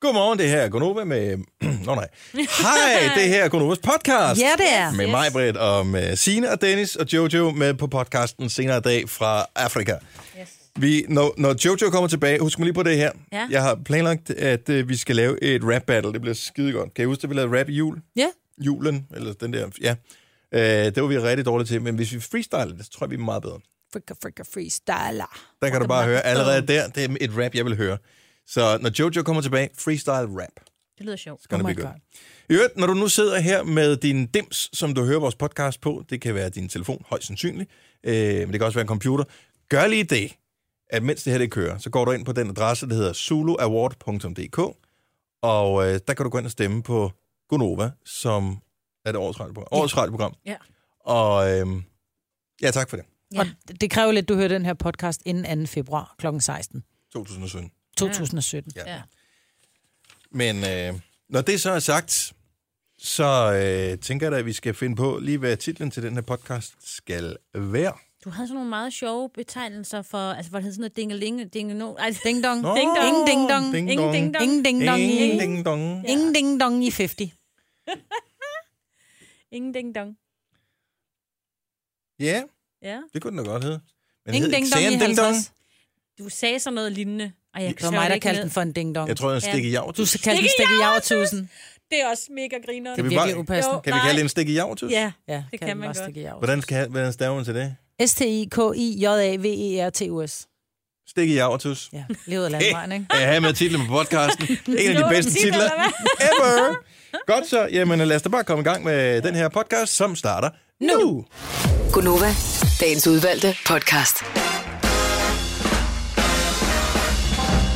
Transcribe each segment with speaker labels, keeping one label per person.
Speaker 1: Godmorgen, det her er Gunova med... Nå nej. Hej, det her er Gunovas podcast.
Speaker 2: Ja, det er.
Speaker 1: Med mig, Britt, og med Sine og Dennis og Jojo med på podcasten senere i dag fra Afrika. Yes. Vi, når, når Jojo kommer tilbage, husk mig lige på det her.
Speaker 2: Ja.
Speaker 1: Jeg har planlagt, at øh, vi skal lave et rap battle. Det bliver skide godt. Kan I huske, at vi lavede rap i jul?
Speaker 2: Ja.
Speaker 1: Julen, eller den der... Ja. Øh, det var vi rigtig dårlige til, men hvis vi freestyler det, så tror jeg, vi er meget bedre.
Speaker 2: Frika, frika, freestyler.
Speaker 1: Der kan du bare høre allerede der. Det er et rap, jeg vil høre. Så når Jojo kommer tilbage, freestyle rap.
Speaker 3: Det lyder sjovt.
Speaker 1: Gonna
Speaker 2: Oh
Speaker 1: be
Speaker 2: my
Speaker 1: good.
Speaker 2: God.
Speaker 1: I øvrigt, når du nu sidder her med din dims, som du hører vores podcast på, det kan være din telefon, højst sandsynligt, øh, men det kan også være en computer, gør lige det, at mens det her det kører, så går du ind på den adresse, der hedder zuluaward.dk, og øh, der kan du gå ind og stemme på Gonova, som er det årets radioprogram. Årets radioprogram.
Speaker 3: Ja.
Speaker 1: Og øh, ja, tak for det.
Speaker 3: Ja.
Speaker 2: Og det kræver lidt, at du hører den her podcast inden 2. februar kl. 16.
Speaker 1: 2017.
Speaker 2: 2017.
Speaker 1: Ja.
Speaker 3: Ja.
Speaker 1: Men øh, når det så er sagt, så øh, tænker jeg da, at vi skal finde på lige, hvad titlen til den her podcast skal være.
Speaker 3: Du havde sådan nogle meget sjove betegnelser for, altså hvor det hed sådan noget dingeling, dinge, no, altså
Speaker 2: Ding dong.
Speaker 1: Nå.
Speaker 3: ding dong.
Speaker 2: Ingen ding dong.
Speaker 1: Ding
Speaker 3: Ingen
Speaker 1: dong.
Speaker 3: ding dong.
Speaker 2: Ingen ding
Speaker 1: Ding, ding, dong.
Speaker 2: dong. i- Ingen ding dong i 50.
Speaker 3: Ingen ding dong.
Speaker 1: Ja,
Speaker 3: Ja.
Speaker 1: det kunne den da godt hedde. Men
Speaker 2: Ingen
Speaker 1: hed
Speaker 2: ding
Speaker 1: ikke
Speaker 2: dong
Speaker 1: Sagen
Speaker 2: i 50.
Speaker 3: Du sagde sådan noget lignende. Og jeg
Speaker 2: Det var mig, der kaldte den
Speaker 3: den.
Speaker 2: for en ding dong.
Speaker 1: Jeg tror, den
Speaker 3: Ja.
Speaker 1: stikker jav
Speaker 2: Du skal kalde den stikke i tusind.
Speaker 3: Det er også mega griner.
Speaker 1: Kan
Speaker 2: Det
Speaker 1: vi
Speaker 2: er
Speaker 1: bare-
Speaker 2: virkelig upassende.
Speaker 3: Jo.
Speaker 1: Kan vi
Speaker 3: Nej.
Speaker 1: kalde det en stikke jav til?
Speaker 3: Ja.
Speaker 2: Ja,
Speaker 3: Det
Speaker 2: kald
Speaker 3: kan
Speaker 2: den
Speaker 3: man
Speaker 2: bare
Speaker 3: godt.
Speaker 2: stikke i jav.
Speaker 1: Hvordan, skal, hvordan staver man til det?
Speaker 2: E S-T-I-K-I-J-A-V-E-R-T-U-S.
Speaker 1: Stikke jav til. Ja.
Speaker 2: Ja, levet af landvejen, ikke?
Speaker 1: Jeg har med titlen på podcasten. En af
Speaker 3: Nå,
Speaker 1: de bedste
Speaker 3: titel,
Speaker 1: titler
Speaker 3: eller hvad?
Speaker 1: ever. Godt så. Jamen lad os da bare komme i gang med den her podcast, som starter nu. nu.
Speaker 4: Gunova, dagens udvalgte podcast.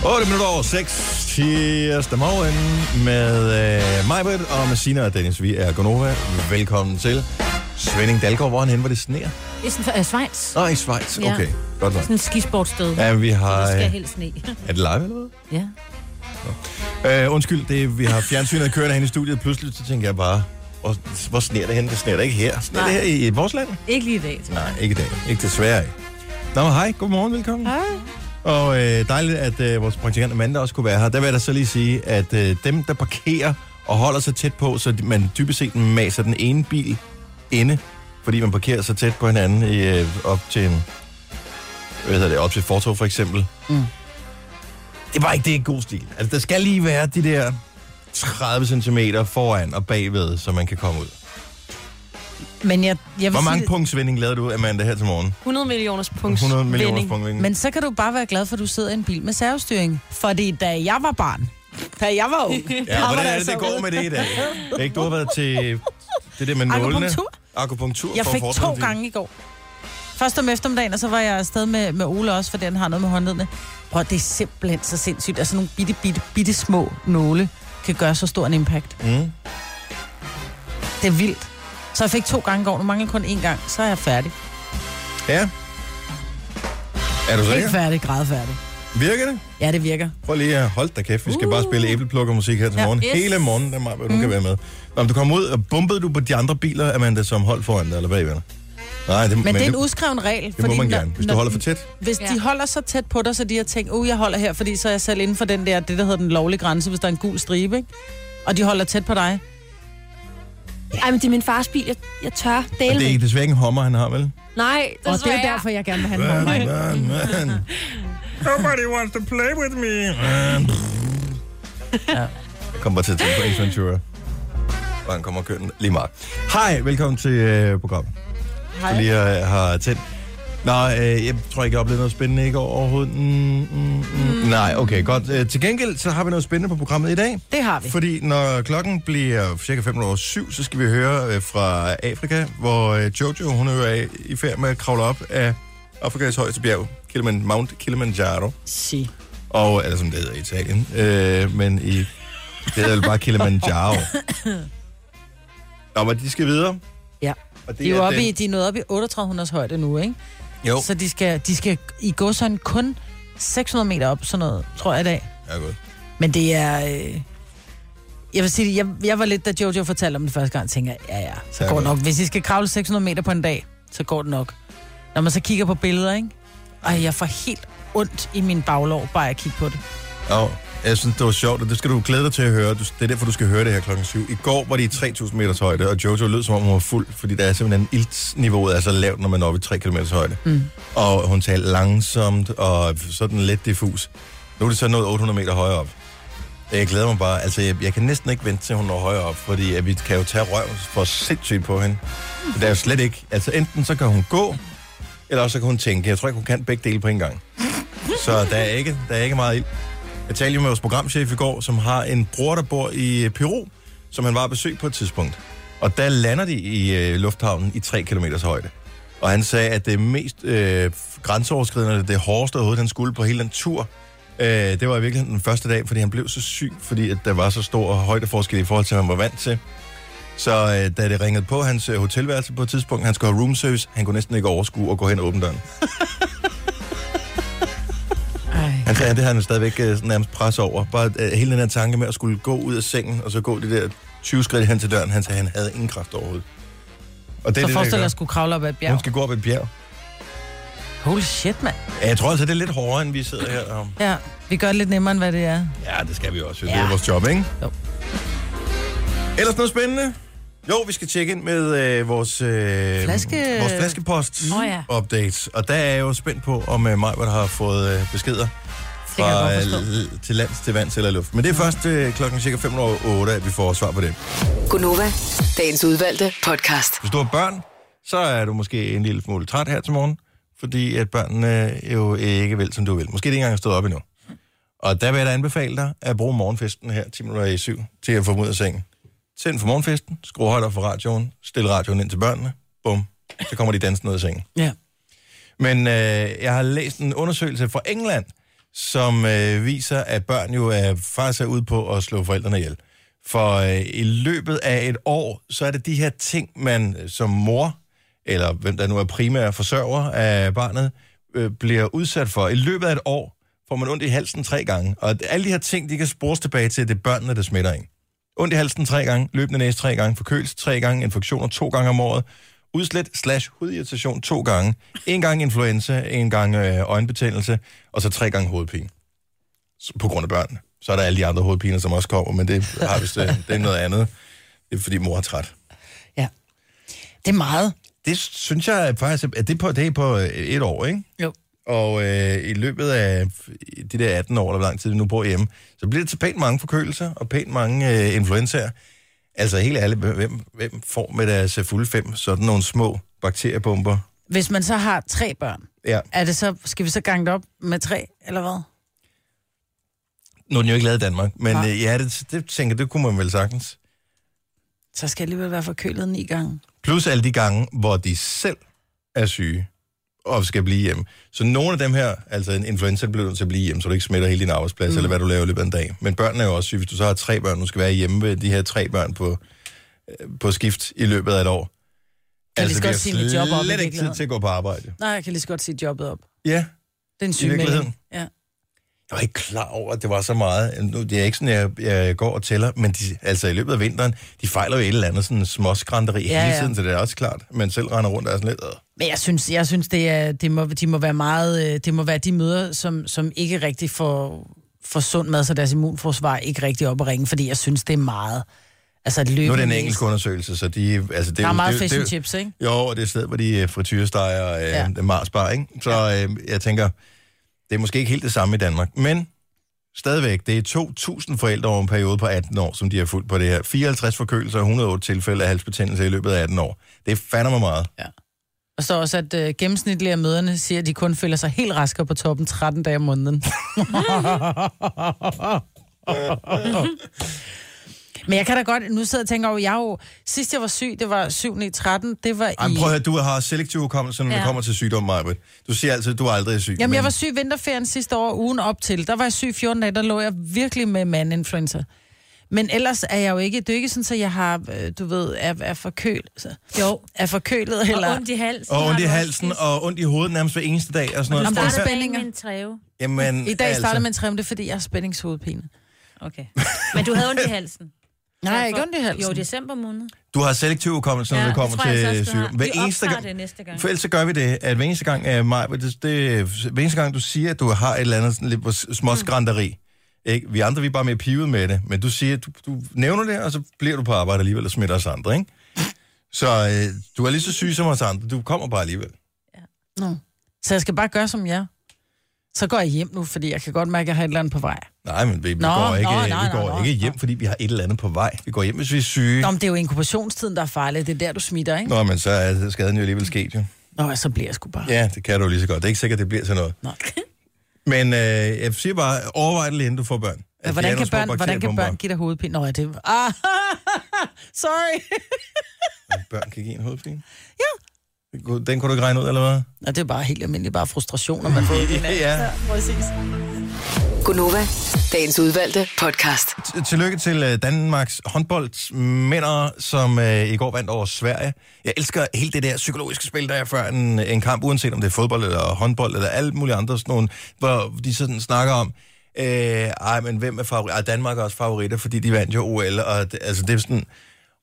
Speaker 1: 8 minutter over 6 tirsdag morgen med øh, mig, Britt, og med Sina og Dennis. Vi er Gonova. Velkommen til. Svending Dalgaard, hvor er han henne, hvor det sneer?
Speaker 3: Det er sådan for uh, Schweiz.
Speaker 1: Nej, i Schweiz.
Speaker 3: Ja.
Speaker 1: Okay, godt nok.
Speaker 3: Sådan et skisportsted. Ja.
Speaker 1: Ja, vi har...
Speaker 3: Skal
Speaker 1: Øh,
Speaker 3: helt sne.
Speaker 1: er det live eller hvad?
Speaker 3: ja.
Speaker 1: Øh, undskyld, det, vi har fjernsynet kørende hen i studiet. Pludselig så tænker jeg bare, hvor, hvor sneer det hen? Det sneer det ikke her. Sneer det her i, i vores land?
Speaker 3: Ikke lige i dag. tror jeg.
Speaker 1: Nej, ikke i dag. Ikke desværre ikke. Nå, men hej. Godmorgen, velkommen. Hej. Og øh, dejligt, at øh, vores praktikant Amanda også kunne være her. Der vil jeg da så lige sige, at øh, dem, der parkerer og holder sig tæt på, så de- man dybest set maser den ene bil inde, fordi man parkerer så tæt på hinanden i, øh, op til en, hvad hedder det, op til et fortog for eksempel. Mm. Det er bare ikke det er god stil. Altså, der skal lige være de der 30 cm foran og bagved, så man kan komme ud.
Speaker 2: Men jeg, jeg vil
Speaker 1: Hvor mange
Speaker 2: sige,
Speaker 1: punktsvending lavede du, Amanda, her til morgen?
Speaker 5: 100 millioners punkt.
Speaker 1: 100 millioner
Speaker 5: vending.
Speaker 1: punktsvending.
Speaker 2: men så kan du bare være glad for, at du sidder i en bil med servestyring. Fordi da jeg var barn, da jeg var ung, der
Speaker 1: Ja,
Speaker 2: var
Speaker 1: hvordan
Speaker 2: der
Speaker 1: er det,
Speaker 2: altså
Speaker 1: det går
Speaker 2: ud.
Speaker 1: med det i dag? Ikke, du har været til det der med nålene.
Speaker 2: Akupunktur?
Speaker 1: Akupunktur.
Speaker 2: Jeg
Speaker 1: for
Speaker 2: fik to
Speaker 1: fortrinsstil.
Speaker 2: gange i går. Først om eftermiddagen, og så var jeg afsted med, med Ole også, for den har noget med håndledene. Og det er simpelthen så sindssygt. Altså nogle bitte, bitte, bitte små nåle kan gøre så stor en impact.
Speaker 1: Mm.
Speaker 2: Det er vildt. Så jeg fik to gange i går, nu mangler kun én gang, så er jeg færdig.
Speaker 1: Ja. Er du
Speaker 2: Ikke
Speaker 1: sikker?
Speaker 2: færdig, grædfærdig.
Speaker 1: Virker det?
Speaker 2: Ja, det virker.
Speaker 1: Prøv lige at holde dig kæft. Vi skal bare spille æbleplukkermusik her til
Speaker 2: Ja,
Speaker 1: morgen.
Speaker 3: yes.
Speaker 1: Hele morgen, der mig, du kan være med. Nå, men du kom ud, og bumpede du på de andre biler, Amanda, som holdt foran dig, eller bagved dig? Nej, det,
Speaker 2: Men, men det er en
Speaker 1: det,
Speaker 2: uskreven regel.
Speaker 1: det må man
Speaker 2: når-
Speaker 1: gerne, hvis
Speaker 2: når-
Speaker 1: du holder for tæt.
Speaker 2: Hvis
Speaker 3: Ja.
Speaker 2: de holder så tæt på dig, så de har tænkt, uh, jeg holder her, fordi så er jeg selv inden for den der, det der hedder den lovlige grænse, hvis der er en gul stribe, ikke? Og de holder tæt på dig.
Speaker 5: Ej, men det er min fars bil. Jeg, jeg tør
Speaker 1: Og
Speaker 5: dele
Speaker 1: det er
Speaker 5: det.
Speaker 1: ikke desværre ikke en hommer, han har, vel?
Speaker 5: Nej,
Speaker 2: Og det er jo
Speaker 5: desværre.
Speaker 2: derfor, jeg gerne vil have en
Speaker 1: Man,
Speaker 2: morgen.
Speaker 1: man, man. Nobody wants to play with me. Man. Jeg kommer bare til at tænke på Ace Ventura. Og han kommer og kører den lige meget. Hej, velkommen til øh, programmet. Hej. Du lige øh, har tændt. Nå, øh, jeg tror ikke, jeg oplevede noget spændende i går overhovedet. Mm, mm, mm. Nej, okay, godt. Øh, til gengæld, så har vi noget spændende på programmet i dag.
Speaker 2: Det har vi.
Speaker 1: Fordi når klokken bliver cirka 5 over syv, så skal vi høre øh, fra Afrika, hvor øh, Jojo, hun er jo af- i færd med at kravle op af Afrikas højeste bjerg, Kiliman, Mount Kilimanjaro,
Speaker 2: Si.
Speaker 1: og, eller som det hedder i Italien, øh, men i, det hedder vel bare Kilimanjaro. Nå, men de skal videre.
Speaker 2: Ja.
Speaker 1: Og
Speaker 2: De er, jo oppe
Speaker 1: den-
Speaker 2: i, de er nået op i 3800 højde nu, ikke?
Speaker 1: Jo,
Speaker 2: Så de skal, de skal i gå sådan kun 600 meter op, sådan noget, tror jeg i dag.
Speaker 1: ja, godt.
Speaker 2: Men det er... Øh, jeg vil sige, jeg, jeg var lidt, da Jojo fortalte om det første gang, tænker jeg, ja, ja, så
Speaker 1: Ja,
Speaker 2: går
Speaker 1: vel.
Speaker 2: det nok. Hvis I skal kravle 600 meter på en dag, så går det nok. Når man så kigger på billeder, ikke? Ej, jeg får helt ondt i min baglov, bare at kigge på det.
Speaker 1: Nå, Jeg synes, det var sjovt, og det skal du glæde dig til at høre. Du- Det er derfor, du skal høre det her klokken 7. I går var de i 3.000 meters højde, og Jojo lød, som om hun var fuld, fordi der er simpelthen iltniveauet er så lavt, når man er oppe i 3 km højde. Mm. Og hun talte langsomt og sådan lidt diffus. Nu er det så nået 800 meter højere op. Jeg glæder mig bare. Altså, jeg, jeg kan næsten ikke vente til, hun når højere op, fordi at vi kan jo tage røven for sindssygt på hende. Men der er jo slet ikke... Altså, enten så kan hun gå, eller også så kan hun tænke. Jeg tror ikke, hun kan begge dele på en gang. Så der er ikke, der er ikke meget ild. Jeg talte jo med vores programchef i går, som har en bror, der bor i øh, Peru, som han var at besøg på et tidspunkt. Og der lander de i øh, lufthavnen i 3 km højde. Og han sagde, at det mest øh, grænseoverskridende, det hårdeste overhovedet, han skulle på hele den tur, øh, det var i virkeligheden den første dag, fordi han blev så syg, fordi at der var så stor højdeforskel i forhold til, hvad han var vant til. Så øh, da det ringede på hans øh, hotelværelse på et tidspunkt, han skulle have room service, han kunne næsten ikke overskue at gå hen og åbne døren. Han sagde, at det havde han stadigvæk øh, sådan nærmest pres over. Bare øh, hele den her tanke med at skulle gå ud af sengen, og så gå de der 20 skridt hen til døren, han sagde, at han havde ingen kraft overhovedet. Og det er
Speaker 2: Det så
Speaker 1: det, der
Speaker 2: forestil dig
Speaker 1: gør.
Speaker 2: at skulle kravle op ad et
Speaker 1: Hun
Speaker 2: bjerg.
Speaker 1: skal gå op ad et bjerg.
Speaker 2: Holy shit, mand.
Speaker 1: Ja, jeg tror altså, det er lidt hårdere, end vi sidder her. og-
Speaker 2: Ja, vi gør det lidt nemmere, end hvad det er.
Speaker 1: Ja, det skal vi også. Ja. Det er vores job, ikke?
Speaker 2: Jo.
Speaker 1: Ellers noget spændende? Jo, vi skal tjekke ind med øh, vores, øh,
Speaker 2: Flaske-
Speaker 1: vores flaskepost
Speaker 3: Nå ja.
Speaker 1: updates. Og der er jeg jo spændt på, om øh, Majbert har fået øh, beskeder
Speaker 2: kan jeg
Speaker 1: fra
Speaker 2: godt forstå.
Speaker 1: øh, til lands, til vands eller luft. Men det er først øh, klokken cirka 5 over 8, at vi får svar på det.
Speaker 4: Gunova, dagens udvalgte podcast.
Speaker 1: Hvis du har børn, så er du måske en lille smule træt her til morgen, fordi at børnene jo ikke vil, som du vil. Måske det ikke engang er stået op endnu. Og der vil jeg da anbefale dig at bruge morgenfesten her 10 minutter i syv til at få dem ud af sengen. Tænd for morgenfesten, skru højt op for radioen, stil radioen ind til børnene, bum, så kommer de dansende ud af sengen.
Speaker 2: Ja.
Speaker 1: Men øh, jeg har læst en undersøgelse fra England, som øh, viser, at børn jo er, faktisk er ude på at slå forældrene ihjel. For øh, i løbet af et år, så er det de her ting, man øh, som mor, eller hvem der nu er primære forsørger af barnet, øh, bliver udsat for. I løbet af et år får man ondt i halsen tre gange. Og alle de her ting, de kan spores tilbage til, at det er børnene, der smitter en. Ondt i halsen tre gange, løbende næse tre gange, forkølelse tre gange, infektioner to gange om året, udslæt slash hudirritation to gange, en gang influenza, en gang øh, øjenbetændelse, og så tre gange hovedpine. Så- På grund af børnene. Så er der alle de andre hovedpiner, som også kommer, men det, har vist, øh, det er noget andet. Det er fordi mor er træt.
Speaker 2: ja. Det er meget.
Speaker 1: Det synes jeg faktisk, at det er på, det er på øh, et år, ikke?
Speaker 2: Jo.
Speaker 1: Og øh, i løbet af de der 18 år, eller hvor lang tid de nu bor hjemme, så bliver det til pænt mange forkølelser og pænt mange øh, influenzaer. Altså helt ærligt, hvem, hvem får med deres øh, fulde fem sådan nogle små bakteriebomber?
Speaker 2: Hvis man så har tre børn,
Speaker 1: Ja.
Speaker 2: er det så, skal vi så gange det op med tre, eller hvad?
Speaker 1: Nu er den jo ikke lavet i Danmark, men
Speaker 2: Nej.
Speaker 1: øh, ja, det, det tænker jeg, det kunne man vel sagtens.
Speaker 2: Så skal jeg alligevel være forkølet ni gange.
Speaker 1: Plus alle de gange, hvor de selv er syge og skal blive hjemme. Så nogle af dem her, altså en influenza, bliver du nødt til at blive hjemme, så du ikke smitter hele din arbejdsplads, mm. eller hvad du laver i løbet af en dag. Men børnene er jo også syge. Hvis du så har tre børn, du skal være hjemme ved de her tre børn på, øh, på skift i løbet af et år.
Speaker 2: Jeg kan lige så
Speaker 1: vi
Speaker 2: godt
Speaker 1: har
Speaker 2: sige mit job op i
Speaker 1: slet ikke tid
Speaker 2: virkeligheden.
Speaker 1: til at gå på arbejde.
Speaker 2: Nej, jeg kan lige så godt sige jobbet op.
Speaker 1: Ja,
Speaker 2: Det er en syg
Speaker 1: virkeligheden.
Speaker 2: Ja.
Speaker 1: jeg var ikke klar over, at det var så meget. Nu, det er ikke sådan, jeg, jeg går og tæller, men de, altså i løbet af vinteren, de fejler jo et eller andet sådan småskranteri ja,
Speaker 2: Ja,
Speaker 1: hele
Speaker 2: ja.
Speaker 1: tiden, så det er også klart. Men selv render rundt og er sådan lidt... Øh.
Speaker 2: Men jeg synes, jeg synes det er, det må, de må være meget, øh, det må være de møder, som, som ikke rigtig får, får sund mad, så deres immunforsvar ikke rigtig op at ringe, fordi jeg synes, det er meget. Altså et løb.
Speaker 1: Nu er det en engelsk undersøgelse, så de... Altså, det,
Speaker 2: Der er
Speaker 1: jo-
Speaker 2: meget
Speaker 1: det,
Speaker 2: fish
Speaker 1: det,
Speaker 2: and chips, ikke?
Speaker 1: Jo, og det er et sted, hvor de øh, frityresteger øh,
Speaker 2: Ja.
Speaker 1: ja. Marsbar, ikke? Så øh, jeg tænker, det er måske ikke helt det samme i Danmark, men stadigvæk, det er 2.000 forældre over en periode på 18 år, som de har fulgt på det her. 54 forkølelser og 108 tilfælde af halsbetændelse i løbet af 18 år. Det er fandme meget.
Speaker 2: Og så også, at øh, gennemsnitlige af møderne siger, at de kun føler sig helt raske og på toppen 13 dage om måneden. Men jeg kan da godt, nu sidder jeg og tænker over, jeg er jo, sidst jeg var syg, det var 7. i 13, det var i...
Speaker 1: Ej, men prøv at høre, du har selektiv hukommelse, når ja. det
Speaker 3: Ja.
Speaker 1: kommer til sygdom, Majbrit. Du siger altid, at du aldrig er syg.
Speaker 2: Jamen, jeg
Speaker 1: men-
Speaker 2: var syg i vinterferien sidste år, ugen op til. Der var jeg syg 14 dage, der lå jeg virkelig med mandinfluenza. Men ellers er jeg jo ikke, det er jo ikke sådan, at jeg har, øh, du ved, er, er forkølet. Jo. Er forkølet, eller...
Speaker 3: Og ondt i halsen.
Speaker 1: Og
Speaker 3: har
Speaker 1: ondt i
Speaker 3: du også
Speaker 1: halsen,
Speaker 3: tit.
Speaker 1: og ondt i hovedet nærmest hver eneste dag. Og sådan
Speaker 2: Men
Speaker 1: noget.
Speaker 2: du
Speaker 3: Der
Speaker 1: Prøv
Speaker 3: er
Speaker 1: at høre-
Speaker 3: spændinger.
Speaker 2: spændinger.
Speaker 3: en træve.
Speaker 1: Jamen,
Speaker 2: I dag altså. startede med en træm, det er, fordi jeg har spændingshovedpine.
Speaker 3: Okay. Men du havde ondt i halsen.
Speaker 2: Nej, ikke ondt i halsen.
Speaker 3: Jo, december måned.
Speaker 1: Du har selektiv hukommelse, når
Speaker 3: Ja,
Speaker 1: ja, det
Speaker 3: det
Speaker 1: kommer
Speaker 3: tror jeg altså
Speaker 1: til
Speaker 3: også,
Speaker 1: altså
Speaker 3: du
Speaker 1: sygdom.
Speaker 3: har. Vi optager det næste gang.
Speaker 1: For ellers så gør vi det, at hver eneste
Speaker 3: Mm.
Speaker 1: gang, uh, Maj, det, det, hver eneste gang du siger, at du har et eller andet sådan lidt småskranteri, Ikke? Vi andre, vi er bare mere pivet med det. Men du siger, du, du nævner det, og så bliver du på arbejde alligevel og smitter os andre, ikke? Så øh, du er lige så syg som os andre. Du kommer bare alligevel.
Speaker 2: Nå. Så jeg skal bare gøre som jer. Så går jeg hjem nu, fordi jeg kan godt mærke, at jeg har et eller andet på vej.
Speaker 1: Nej, men vi, vi
Speaker 2: Nå,
Speaker 1: går ikke, nå,
Speaker 2: nå, nej,
Speaker 1: vi
Speaker 2: nej,
Speaker 1: går
Speaker 2: nå,
Speaker 1: ikke hjem, fordi vi har et eller andet på vej. Vi går hjem, hvis vi er syge.
Speaker 2: Nå, men det er jo inkubationstiden, der er farlig. Det er der, du smitter, ikke?
Speaker 1: Nå, men så er skaden jo alligevel sket, jo.
Speaker 2: Nå, så bliver jeg sgu bare.
Speaker 1: Ja, det kan du lige så godt. Det er ikke sikkert, det bliver til noget.
Speaker 2: Nå.
Speaker 1: Men øh, jeg siger bare, overvej det lige, inden du får børn. At
Speaker 2: Men
Speaker 1: de er
Speaker 2: hvordan
Speaker 1: nogle
Speaker 2: kan,
Speaker 1: små
Speaker 2: børn, hvordan kan
Speaker 1: bakteriebomber.
Speaker 2: børn give dig hovedpine? Nå, ja, det... Ah, sorry.
Speaker 1: Børn kan give en hovedpine? Ja. Den kunne du ikke regne ud, eller hvad?
Speaker 2: Nå, det er bare helt almindeligt, bare frustration, når man får det. Altså.
Speaker 1: ja.
Speaker 2: Præcis.
Speaker 4: Gunova, dagens udvalgte podcast.
Speaker 1: T- Tillykke til øh, Danmarks håndboldmændere, som øh, i går vandt over Sverige. Jeg elsker hele det der psykologiske spil, der er før en, en kamp, uanset om det er fodbold eller håndbold eller alt muligt andet sådan nogle, hvor de sådan snakker om, øh, ej, men hvem er favorit? Ej, Danmark er også favoritter, fordi de vandt jo OL, og det, altså det er sådan,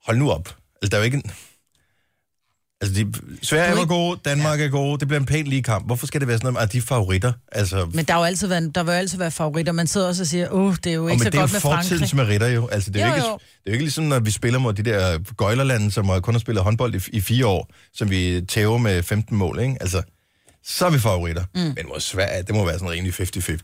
Speaker 1: hold nu op. Altså, der er jo ikke en... Altså, de, Sverige
Speaker 2: Du er
Speaker 1: var
Speaker 2: ikke-
Speaker 1: gode, Danmark er gode, det bliver en pæn lige kamp. Hvorfor skal det være sådan noget, med, at de er favoritter? Altså,
Speaker 2: Men der, er jo altid været, der vil jo altid være favoritter. Man sidder også og siger, åh, oh, det er jo
Speaker 1: Og
Speaker 2: ikke
Speaker 1: men
Speaker 2: så
Speaker 1: det er jo
Speaker 2: godt med Frankrig.
Speaker 1: fortidens meritter jo. Altså, det, er jo,
Speaker 2: Jo,
Speaker 1: ikke,
Speaker 2: jo.
Speaker 1: det er jo ikke ligesom, når vi spiller mod de der gøjlerlande, som har- kun har spillet håndbold i, i fire år, som vi tæver med 15 mål, ikke? Altså, så er vi favoritter. Mm. Men mod Sverige, det må være sådan rimelig 50-50.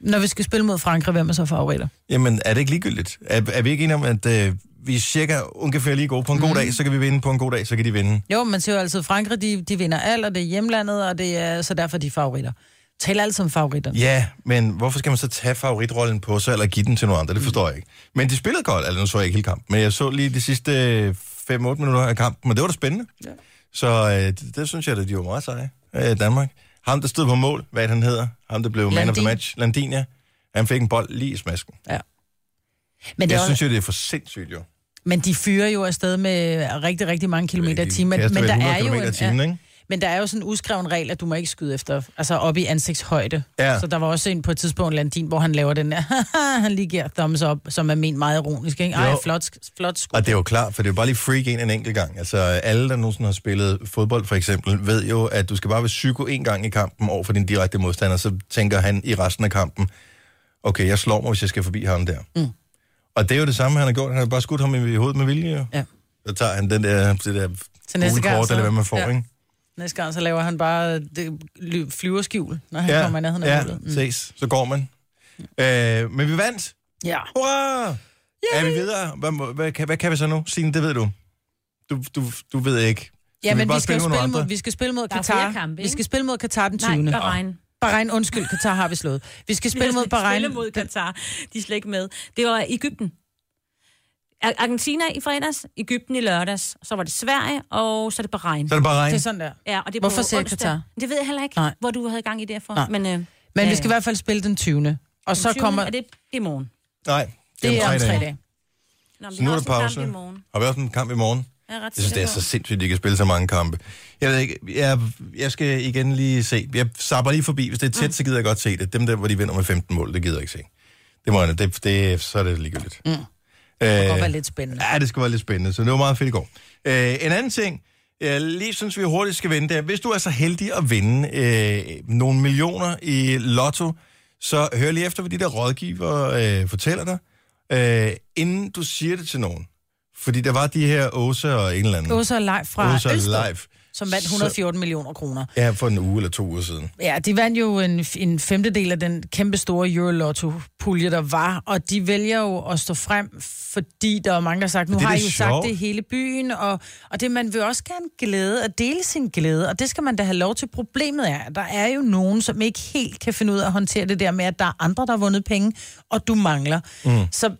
Speaker 2: Når vi skal spille mod Frankrig, hvem er så favoritter?
Speaker 1: Jamen, er det ikke ligegyldigt? Er, er vi ikke enige om, at øh, vi er cirka ungefær lige gode? På en
Speaker 2: Mm.
Speaker 1: god dag, så kan vi vinde. På en god dag, så kan de vinde.
Speaker 2: Jo, man siger jo altid, Frankrig, de, de vinder alt, og det er hjemlandet, og det er så derfor de er favoritter. Tal altid om favoritterne.
Speaker 1: Ja, men hvorfor skal man så tage favoritrollen på sig, eller give den til nogen andre? Det forstår jeg ikke. Men de spillede godt, altså nu så jeg ikke hele kampen, men jeg så lige de sidste 5-8 minutter af kampen, og det var da spændende. Ja. Så øh, det, det synes jeg, at de var meget seje, øh, Danmark. Ham, der stod på mål, hvad er det, han hedder, ham, der blev man of the
Speaker 2: Landin.
Speaker 1: match, Landin, ja. Han fik en bold lige i smasken.
Speaker 2: Ja. Men, det
Speaker 1: Jeg
Speaker 2: er
Speaker 1: synes
Speaker 2: også,
Speaker 1: jo, det er for sindssygt, jo.
Speaker 2: men de fyrer jo afsted med rigtig, rigtig mange kilometer i
Speaker 1: De
Speaker 2: timen. Men
Speaker 1: kaster vel
Speaker 2: der
Speaker 1: 100
Speaker 2: er jo
Speaker 1: km i
Speaker 2: en,
Speaker 1: timen, ikke?
Speaker 2: Men der er jo sådan en uskreven regel, at du må ikke skyde efter, altså op i ansigtshøjde.
Speaker 1: Ja.
Speaker 2: Så der var også en på et tidspunkt, Landin, hvor han laver den der, han lige giver thumbs up, som er ment meget ironisk, ikke? Ej,
Speaker 1: Jo.
Speaker 2: flot, sk- flot skud.
Speaker 1: Og det er jo klart, for det er jo bare lige freak en en enkelt gang. Altså alle, der nogensinde har spillet fodbold for eksempel, ved jo, at du skal bare være psyko en gang i kampen over for din direkte modstander, så tænker han i resten af kampen, okay, jeg slår mig, hvis jeg skal forbi ham der. Mm. Og det er jo det samme, han har gjort. Han har bare skudt ham i hovedet med vilje. jo.
Speaker 2: Ja.
Speaker 1: Så tager han den der, det der
Speaker 2: Til næste gang,
Speaker 1: gule kort,
Speaker 2: så-
Speaker 1: eller hvad man får,
Speaker 2: ja.
Speaker 1: ikke?
Speaker 2: Næste gang, så laver han bare det, ly- flyverskjul, når han kommer i nærheden af
Speaker 1: ja,
Speaker 2: målet. Mm.
Speaker 1: ses. Så går man. Øh, men vi vandt.
Speaker 2: Ja.
Speaker 1: Hurra! Er vi videre? Hvad, må- hvad, kan, hvad kan vi så nu? Signe, det ved du. Du, du, du ved ikke. Skal
Speaker 2: Ja, men vi,
Speaker 1: bare
Speaker 2: skal jo
Speaker 1: med nogle
Speaker 2: spille mod,
Speaker 1: andre?
Speaker 2: vi skal spille mod
Speaker 3: Der er
Speaker 2: Katar.
Speaker 3: flere kampe,
Speaker 2: vi
Speaker 3: ikke?
Speaker 2: skal spille mod Katar den 20.
Speaker 3: Nej,
Speaker 2: Nej,
Speaker 3: Bahrein.
Speaker 2: Bahrein, undskyld, Katar har vi slået. Vi skal spille mod Bahrein.
Speaker 3: Spille mod Katar. De er slet ikke med. Det var Ægypten. Ar- Argentina i fredags, Ægypten i lørdags, så var det Sverige, og så er det Bahrein.
Speaker 1: Så er det bare regn.
Speaker 2: Det er sådan der.
Speaker 3: Ja, og det er
Speaker 2: Hvorfor
Speaker 3: på
Speaker 2: siger jeg
Speaker 3: onsdag.
Speaker 2: Qatar?
Speaker 3: Det ved jeg heller ikke,
Speaker 2: Nej.
Speaker 3: Nej. hvor du havde gang i det for.
Speaker 2: Nej.
Speaker 3: Men, øh, men
Speaker 2: Men vi skal i hvert fald spille den 20. Og så kommer...
Speaker 3: Er det, det er i morgen.
Speaker 1: Nej,
Speaker 2: Det er om tre dage.
Speaker 3: Nå, men
Speaker 1: Så nu er der pause.
Speaker 3: kamp i morgen.
Speaker 1: Har vi også en kamp i morgen?
Speaker 3: Jeg er ret
Speaker 1: Jeg synes, det er
Speaker 3: sikker
Speaker 1: så sindssygt, at de kan spille så mange kampe. Jeg ved ikke, jeg, jeg skal igen lige se. Jeg sapper lige forbi. Hvis det
Speaker 3: Mm.
Speaker 1: er tæt, så gider jeg godt se det. Dem der, hvor de vinder med 15 mål, det gider jeg ikke se. Det må jeg, det, det, så er det ligegyldigt. Mm.
Speaker 2: Det kan godt være lidt spændende.
Speaker 1: Ja, det skal være lidt spændende, så det var meget fedt i går. Øh, en anden ting, jeg lige synes, vi hurtigt skal vinde, det er, hvis du er så heldig at vinde øh, nogle millioner i lotto, så hør lige efter, hvad de der rådgiver øh, fortæller dig, øh, inden du siger det til nogen. Fordi der var de her Åse og en eller anden.
Speaker 2: Åsa og Leif fra
Speaker 1: Åse og
Speaker 2: Ølstrup,
Speaker 1: Leif.
Speaker 2: som vandt 114 millioner kroner.
Speaker 1: Ja, for en uge eller to uger siden.
Speaker 2: Ja, de vandt jo en, en femtedel af den kæmpe store Eurolotto-pulje, der var, og de vælger jo at stå frem, fordi der er mange, der har sagt, nu
Speaker 1: det er
Speaker 2: har I
Speaker 1: da
Speaker 2: jo sagt
Speaker 1: sjovt.
Speaker 2: det i hele byen, og, og det, man vil også gerne glæde og dele sin glæde, og det skal man da have lov til. Problemet er, at der er jo nogen, som ikke helt kan finde ud af at håndtere det der med, at der er andre, der har vundet penge, og du mangler. Mm. Så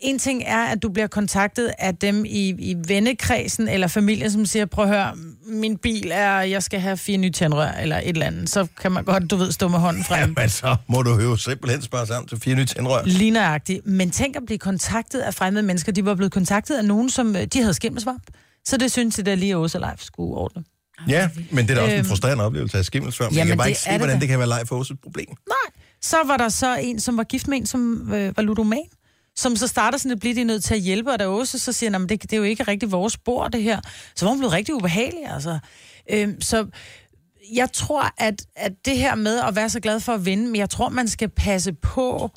Speaker 2: en ting er, at du bliver kontaktet af dem i, i vennekredsen eller familien, som siger, prøv at høre, min bil er, jeg skal have fire nye tændrør eller et eller andet. Så kan man godt, du ved, stå med hånden frem.
Speaker 1: Men så må du jo simpelthen spare sammen til fire nye tændrør.
Speaker 2: Ligneragtigt. Men tænk at blive kontaktet af fremmede mennesker. De var blevet kontaktet af nogen, som øh, de havde skimmelsvamp. Så det synes jeg da lige, at Åsa Leif skulle ordne.
Speaker 1: Ja, men det er da også en
Speaker 2: Øhm.
Speaker 1: frustrerende oplevelse af skimmelsværm. Jeg
Speaker 2: Jamen,
Speaker 1: kan bare
Speaker 2: det
Speaker 1: ikke se,
Speaker 2: er det
Speaker 1: hvordan
Speaker 2: da.
Speaker 1: det kan være Leif og Åses problem.
Speaker 2: Så var der så en, som var gift med en, som øh, var ludoman, som så starter sådan at blive de er nødt til at hjælpe, og der også så siger han, "Jamen, det, det er jo ikke rigtig vores spor, det her. Så var hun blevet rigtig ubehagelig, altså. Øhm, så jeg tror, at, at det her med at være så glad for at vinde, men jeg tror, man skal passe på,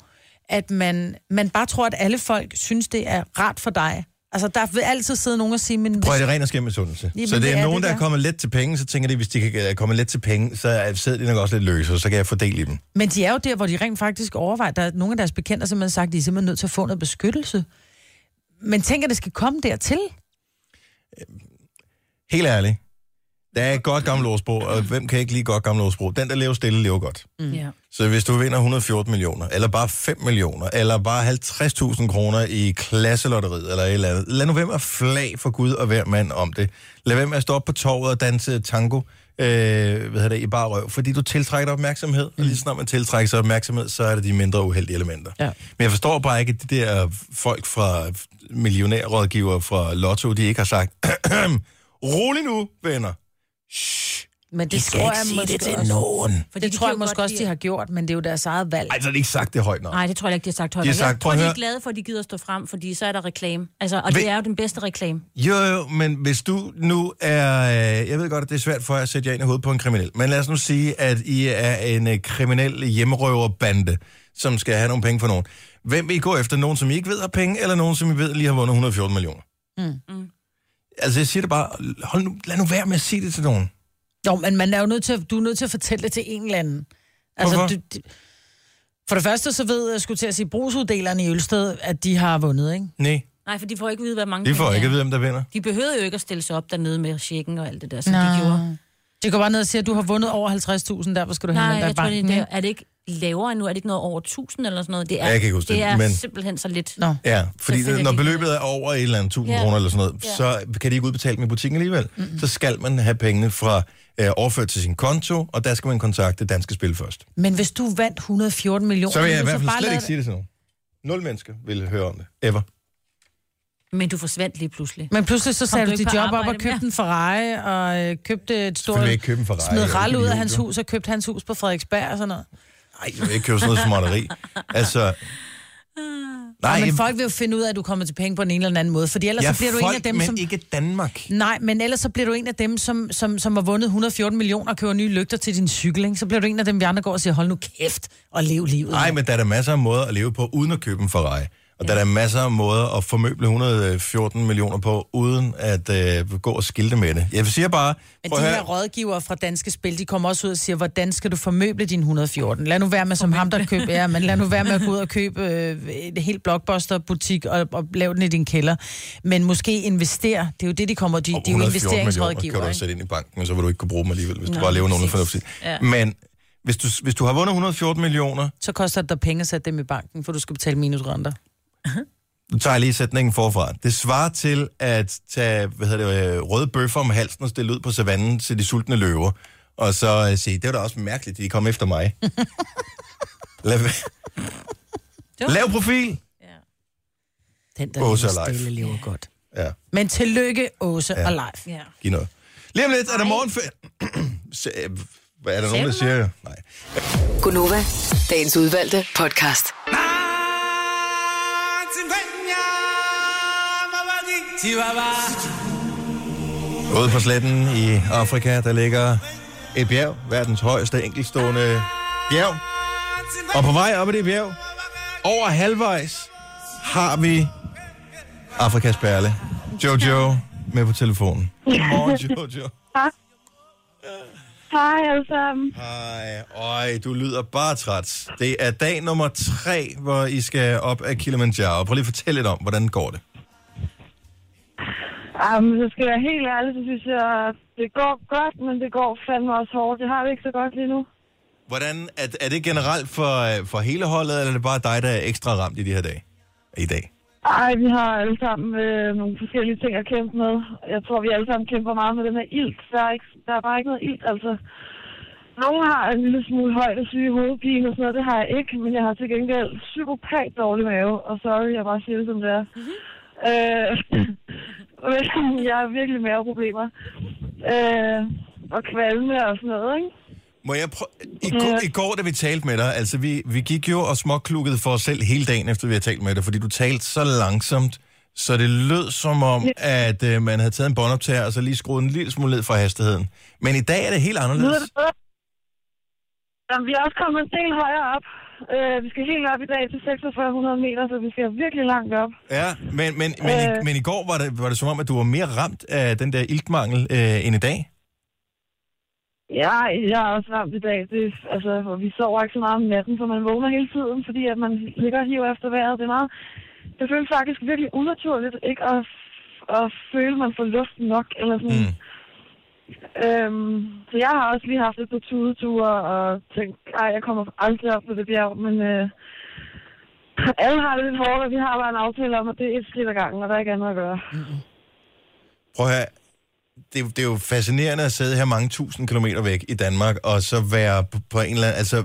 Speaker 2: at man, man bare tror, at alle folk synes, det er rart for dig. Altså, der vil altid sidde nogen og sige, men
Speaker 1: Prøv at det er ren og skær misundelse.
Speaker 2: Jamen,
Speaker 1: Så det
Speaker 2: det
Speaker 1: er,
Speaker 2: er
Speaker 1: nogen,
Speaker 2: det,
Speaker 1: der er
Speaker 2: ja.
Speaker 1: kommet let til penge, så tænker de, hvis de kan øh, komme let til penge, så er- sidder de nok også lidt løse, og så kan jeg fordele i dem.
Speaker 2: Men de er jo der, hvor de rent faktisk overvejer. Der er nogle af deres bekendte, som har sagt, at de er simpelthen nødt til at få noget beskyttelse. Men tænker, det skal komme dertil.
Speaker 1: Helt ærligt. Der er et godt gammelt ordsprog, og hvem kan ikke lide godt gammelt ordsprog? Den, der lever stille, lever godt.
Speaker 3: Mm. Ja.
Speaker 1: Så hvis du vinder 114 millioner, eller bare 5 millioner, eller bare 50.000 kroner i klasselotteriet, eller et eller andet, lad nu være med at flag for Gud og hver mand om det. Lad være med at stå op på torvet og danse tango øh, hvad hedder det, i bare røv, fordi du tiltrækker opmærksomhed, og lige snart man tiltrækker sig opmærksomhed, så er det de mindre uheldige elementer.
Speaker 2: Ja.
Speaker 1: Men jeg forstår bare ikke, at de der folk fra millionærrådgiver fra Lotto, de ikke har sagt, rolig nu, venner.
Speaker 2: Men det
Speaker 1: I
Speaker 2: tror jeg måske også.
Speaker 1: nogen.
Speaker 2: For
Speaker 3: Fordi
Speaker 2: det
Speaker 3: de
Speaker 2: tror
Speaker 3: kan
Speaker 2: jeg
Speaker 3: jo
Speaker 2: måske
Speaker 3: godt
Speaker 2: også, de
Speaker 3: lide-
Speaker 2: har gjort, men det er jo deres eget valg.
Speaker 1: Ej, så har de ikke sagt det højt nok.
Speaker 3: Nej, det tror jeg ikke, de har sagt højt.
Speaker 1: Altså, De har
Speaker 3: nok.
Speaker 1: sagt, prøv
Speaker 3: jeg tror,
Speaker 1: at
Speaker 3: de
Speaker 1: høre.
Speaker 3: er glade for, at de gider stå frem, fordi så er der reklame. Altså, og
Speaker 1: Ved-
Speaker 3: det er jo den bedste reklame.
Speaker 1: Jo, jo, men hvis du nu er... øh, Jeg ved godt, at det er svært for jer at sætte jer ind i hovedet på en kriminel, men lad os nu sige, at I er en øh, kriminel hjemmerøverbande, som skal have nogle penge for nogen. Hvem vil I gå efter? Nogen, som I ikke ved har penge, eller nogen, som I ved lige har vundet 114 millioner?
Speaker 2: Mm.
Speaker 1: Altså, jeg siger det bare... Hold nu, lad nu være med at sige det til nogen.
Speaker 2: Jo, men man er jo nødt til at, du er nødt til at fortælle det til en eller anden. Altså,
Speaker 1: Hvorfor?
Speaker 2: du- du- for det første, så ved jeg, skulle til at sige, brugsuddelerne i Ølsted, at de har vundet, ikke?
Speaker 1: Nej,
Speaker 3: Nej, for de får ikke at vide, hvad mange
Speaker 1: de får
Speaker 3: penge
Speaker 1: ikke
Speaker 3: er.
Speaker 1: at vide, hvem der vinder.
Speaker 3: De behøvede jo ikke at stille sig op dernede med checken og alt det der, som Nå. Altså, de gjorde.
Speaker 2: De går bare ned og siger, at du har vundet over 50.000, der hvor skal du
Speaker 3: Nej,
Speaker 2: henvende dig i
Speaker 3: jeg tror, det er,
Speaker 2: banken,
Speaker 3: der.
Speaker 2: ikke?
Speaker 3: er det ikke lavere endnu? Er det ikke noget over 1000 eller sådan noget? Det er,
Speaker 1: Jeg kan ikke huske
Speaker 3: det,
Speaker 1: det,
Speaker 3: er
Speaker 1: men-
Speaker 3: simpelthen så lidt.
Speaker 2: Nå.
Speaker 1: Ja, fordi
Speaker 3: finder
Speaker 1: når
Speaker 3: de
Speaker 1: beløbet er over et eller andet 1000
Speaker 3: Ja.
Speaker 1: kroner eller sådan noget, så kan de ikke udbetale dem i butikken alligevel. Så skal man have pengene fra øh, overført til sin konto, og der skal man kontakte Danske Spil først.
Speaker 2: Men hvis du vandt 114 millioner...
Speaker 1: Så vil jeg i
Speaker 2: ville
Speaker 1: hvert
Speaker 2: du
Speaker 1: fald
Speaker 2: bare
Speaker 1: slet
Speaker 2: lade
Speaker 1: ikke sige det til nogen. Nul mennesker vil høre om det. Ever.
Speaker 3: Men du forsvandt lige pludselig.
Speaker 2: Men pludselig så
Speaker 3: du
Speaker 2: satte du
Speaker 3: ikke
Speaker 2: dit
Speaker 3: på
Speaker 2: job op
Speaker 3: arbejde
Speaker 2: og købte
Speaker 3: mere?
Speaker 2: en Ferrari, og øh, købte et stort...
Speaker 1: Selvfølgelig ikke købe en Ferrari, jeg er
Speaker 2: Smed Ral
Speaker 1: ikke
Speaker 2: ud af
Speaker 1: idiot,
Speaker 2: hans
Speaker 1: jo.
Speaker 2: hus og købte hans hus på Frederiksberg og sådan noget.
Speaker 1: Nej, jeg vil ikke købe sådan noget småtteri. Altså... Nej,
Speaker 2: Ej, Ah. men
Speaker 1: jeg-
Speaker 2: folk vil jo finde ud af, at du kommer til penge på en eller anden måde, fordi ellers
Speaker 1: ja,
Speaker 2: så bliver du en
Speaker 1: folk,
Speaker 2: af dem,
Speaker 1: men
Speaker 2: som...
Speaker 1: ikke Danmark.
Speaker 2: Nej, men ellers så bliver du en af dem, som, som, som har vundet 114 millioner og køber nye lygter til din cykel, ikke? Så bliver du en af dem, vi andre går og siger, hold nu kæft og lev livet.
Speaker 1: Nej, men der er der masser af måder at leve på, uden at købe en Ferrari. Og der er der masser af måder at formøble 114 millioner på, uden at øh, gå og skilte med det. Jeg siger bare...
Speaker 2: Men
Speaker 1: prøv
Speaker 2: de
Speaker 1: at
Speaker 2: her
Speaker 1: høre-
Speaker 2: rådgivere fra Danske Spil, de kommer også ud og siger, hvordan skal du formøble din 114? Lad nu være med som ham, der køber, ja, men lad nu være med at gå ud og købe øh, en helt blockbuster-butik og, og lave den i din kælder. Men måske investere. Det er jo det, de kommer. De, de er
Speaker 1: 114
Speaker 2: jo
Speaker 1: millioner kan du
Speaker 2: investeringsrådgivere.
Speaker 1: også
Speaker 2: ikke?
Speaker 1: sætte ind i banken, og så vil du ikke kunne bruge dem alligevel, hvis Nå, du
Speaker 3: Nå,
Speaker 1: bare lever nogen
Speaker 3: præcis.
Speaker 1: fornuftigt. Ja.
Speaker 3: Ja.
Speaker 1: Men hvis du, hvis du har vundet 114 millioner,
Speaker 2: Så koster det dig penge at sætte dem i banken, for du skal betale minusrenter.
Speaker 1: Nu tager jeg lige sætningen forfra. Det svarer til at tage hvad hedder det, øh, røde bøffer om halsen og stille ud på savannen til de sultne løver. Og så øh, sige, det var da også mærkeligt, at de kom efter mig. Lav, Lav profil!
Speaker 2: Den, der
Speaker 1: Åse
Speaker 2: Åse
Speaker 1: og
Speaker 2: lever
Speaker 1: Leif.
Speaker 2: stille, lever godt.
Speaker 1: Ja,
Speaker 2: Men tillykke, Åse
Speaker 1: Ja.
Speaker 2: ja. og Leif.
Speaker 3: Ja.
Speaker 1: giv noget. Lige om lidt er der morgenferie. Så, øh, Hvad er der nogen, der siger? Nej.
Speaker 4: Gunova, dagens udvalgte podcast.
Speaker 1: Ude på sletten i Afrika, der ligger et bjerg, verdens højeste enkeltstående bjerg. Og på vej op ad det bjerg, over halvvejs, har vi Afrikas perle. Jojo med på telefonen. Godmorgen, Jojo.
Speaker 6: Hej alle sammen.
Speaker 1: Ej, øj, du lyder bare træt. Det er dag nummer tre, hvor I skal op ad Kilimanjaro. Prøv lige at fortælle lidt om, hvordan går det?
Speaker 6: Jamen, så skal jeg være helt ærlig, så synes jeg, det går godt, men det går fandme også hårdt. Det har vi ikke så godt lige nu.
Speaker 1: Hvordan, er, er det generelt for, øh, for hele holdet, eller er det bare dig, der er ekstra ramt i de her dage? I dag?
Speaker 6: Ej, vi har alle sammen øh, nogle forskellige ting at kæmpe med. Jeg tror, vi alle sammen kæmper meget med den her ilt. Der er, ikke, der er bare ikke noget ilt, altså. Nogle har en lille smule højde syge hovedpine og sådan noget. Det har jeg ikke, men jeg har til gengæld psykopat dårlig mave. Og sorry, jeg bare siger det, som det er. Øh, men jeg har virkelig maveproblemer. Øh, og kvalme og sådan noget, ikke?
Speaker 1: Må jeg prøve... I, går, I går, da vi talte med dig, altså vi, vi gik jo og småklukkede for os selv hele dagen, efter vi havde talt med dig, fordi du talte så langsomt, så det lød som om, at øh, man havde taget en båndoptager, og så lige skruet en lille smule ned for hastigheden. Men i dag er det helt
Speaker 6: Lyder
Speaker 1: anderledes.
Speaker 6: det bedre? Jamen, vi er også kommet en del højere op. Øh, vi skal helt op i dag til 4600 meter, så vi skal virkelig langt op.
Speaker 1: Ja, men, men, men, øh. i,
Speaker 6: Øh.
Speaker 1: men i går var det, var det som om, at du var mere ramt af den der iltmangel øh, end i dag.
Speaker 6: Ja, jeg er også varmt i dag. Det, er- altså, og vi sover ikke så meget om natten, for man vågner hele tiden, fordi at man ligger og hiver efter vejret. Det er meget... Det føles faktisk virkelig unaturligt, ikke at, at føle, at man får luft nok, eller sådan...
Speaker 1: Mm.
Speaker 6: Mm. Øhm, så jeg har også lige haft et par tudeture og tænkt, nej, jeg kommer aldrig op på det bjerg, men øh, alle har det lidt hårdt, og vi har bare en aftale om, at det er et skridt ad gangen, og der er ikke andet at gøre.
Speaker 1: Prøv at høre, det, er jo- det er jo fascinerende at sidde her mange tusind kilometer væk i Danmark, og så være på, på en eller anden... Altså,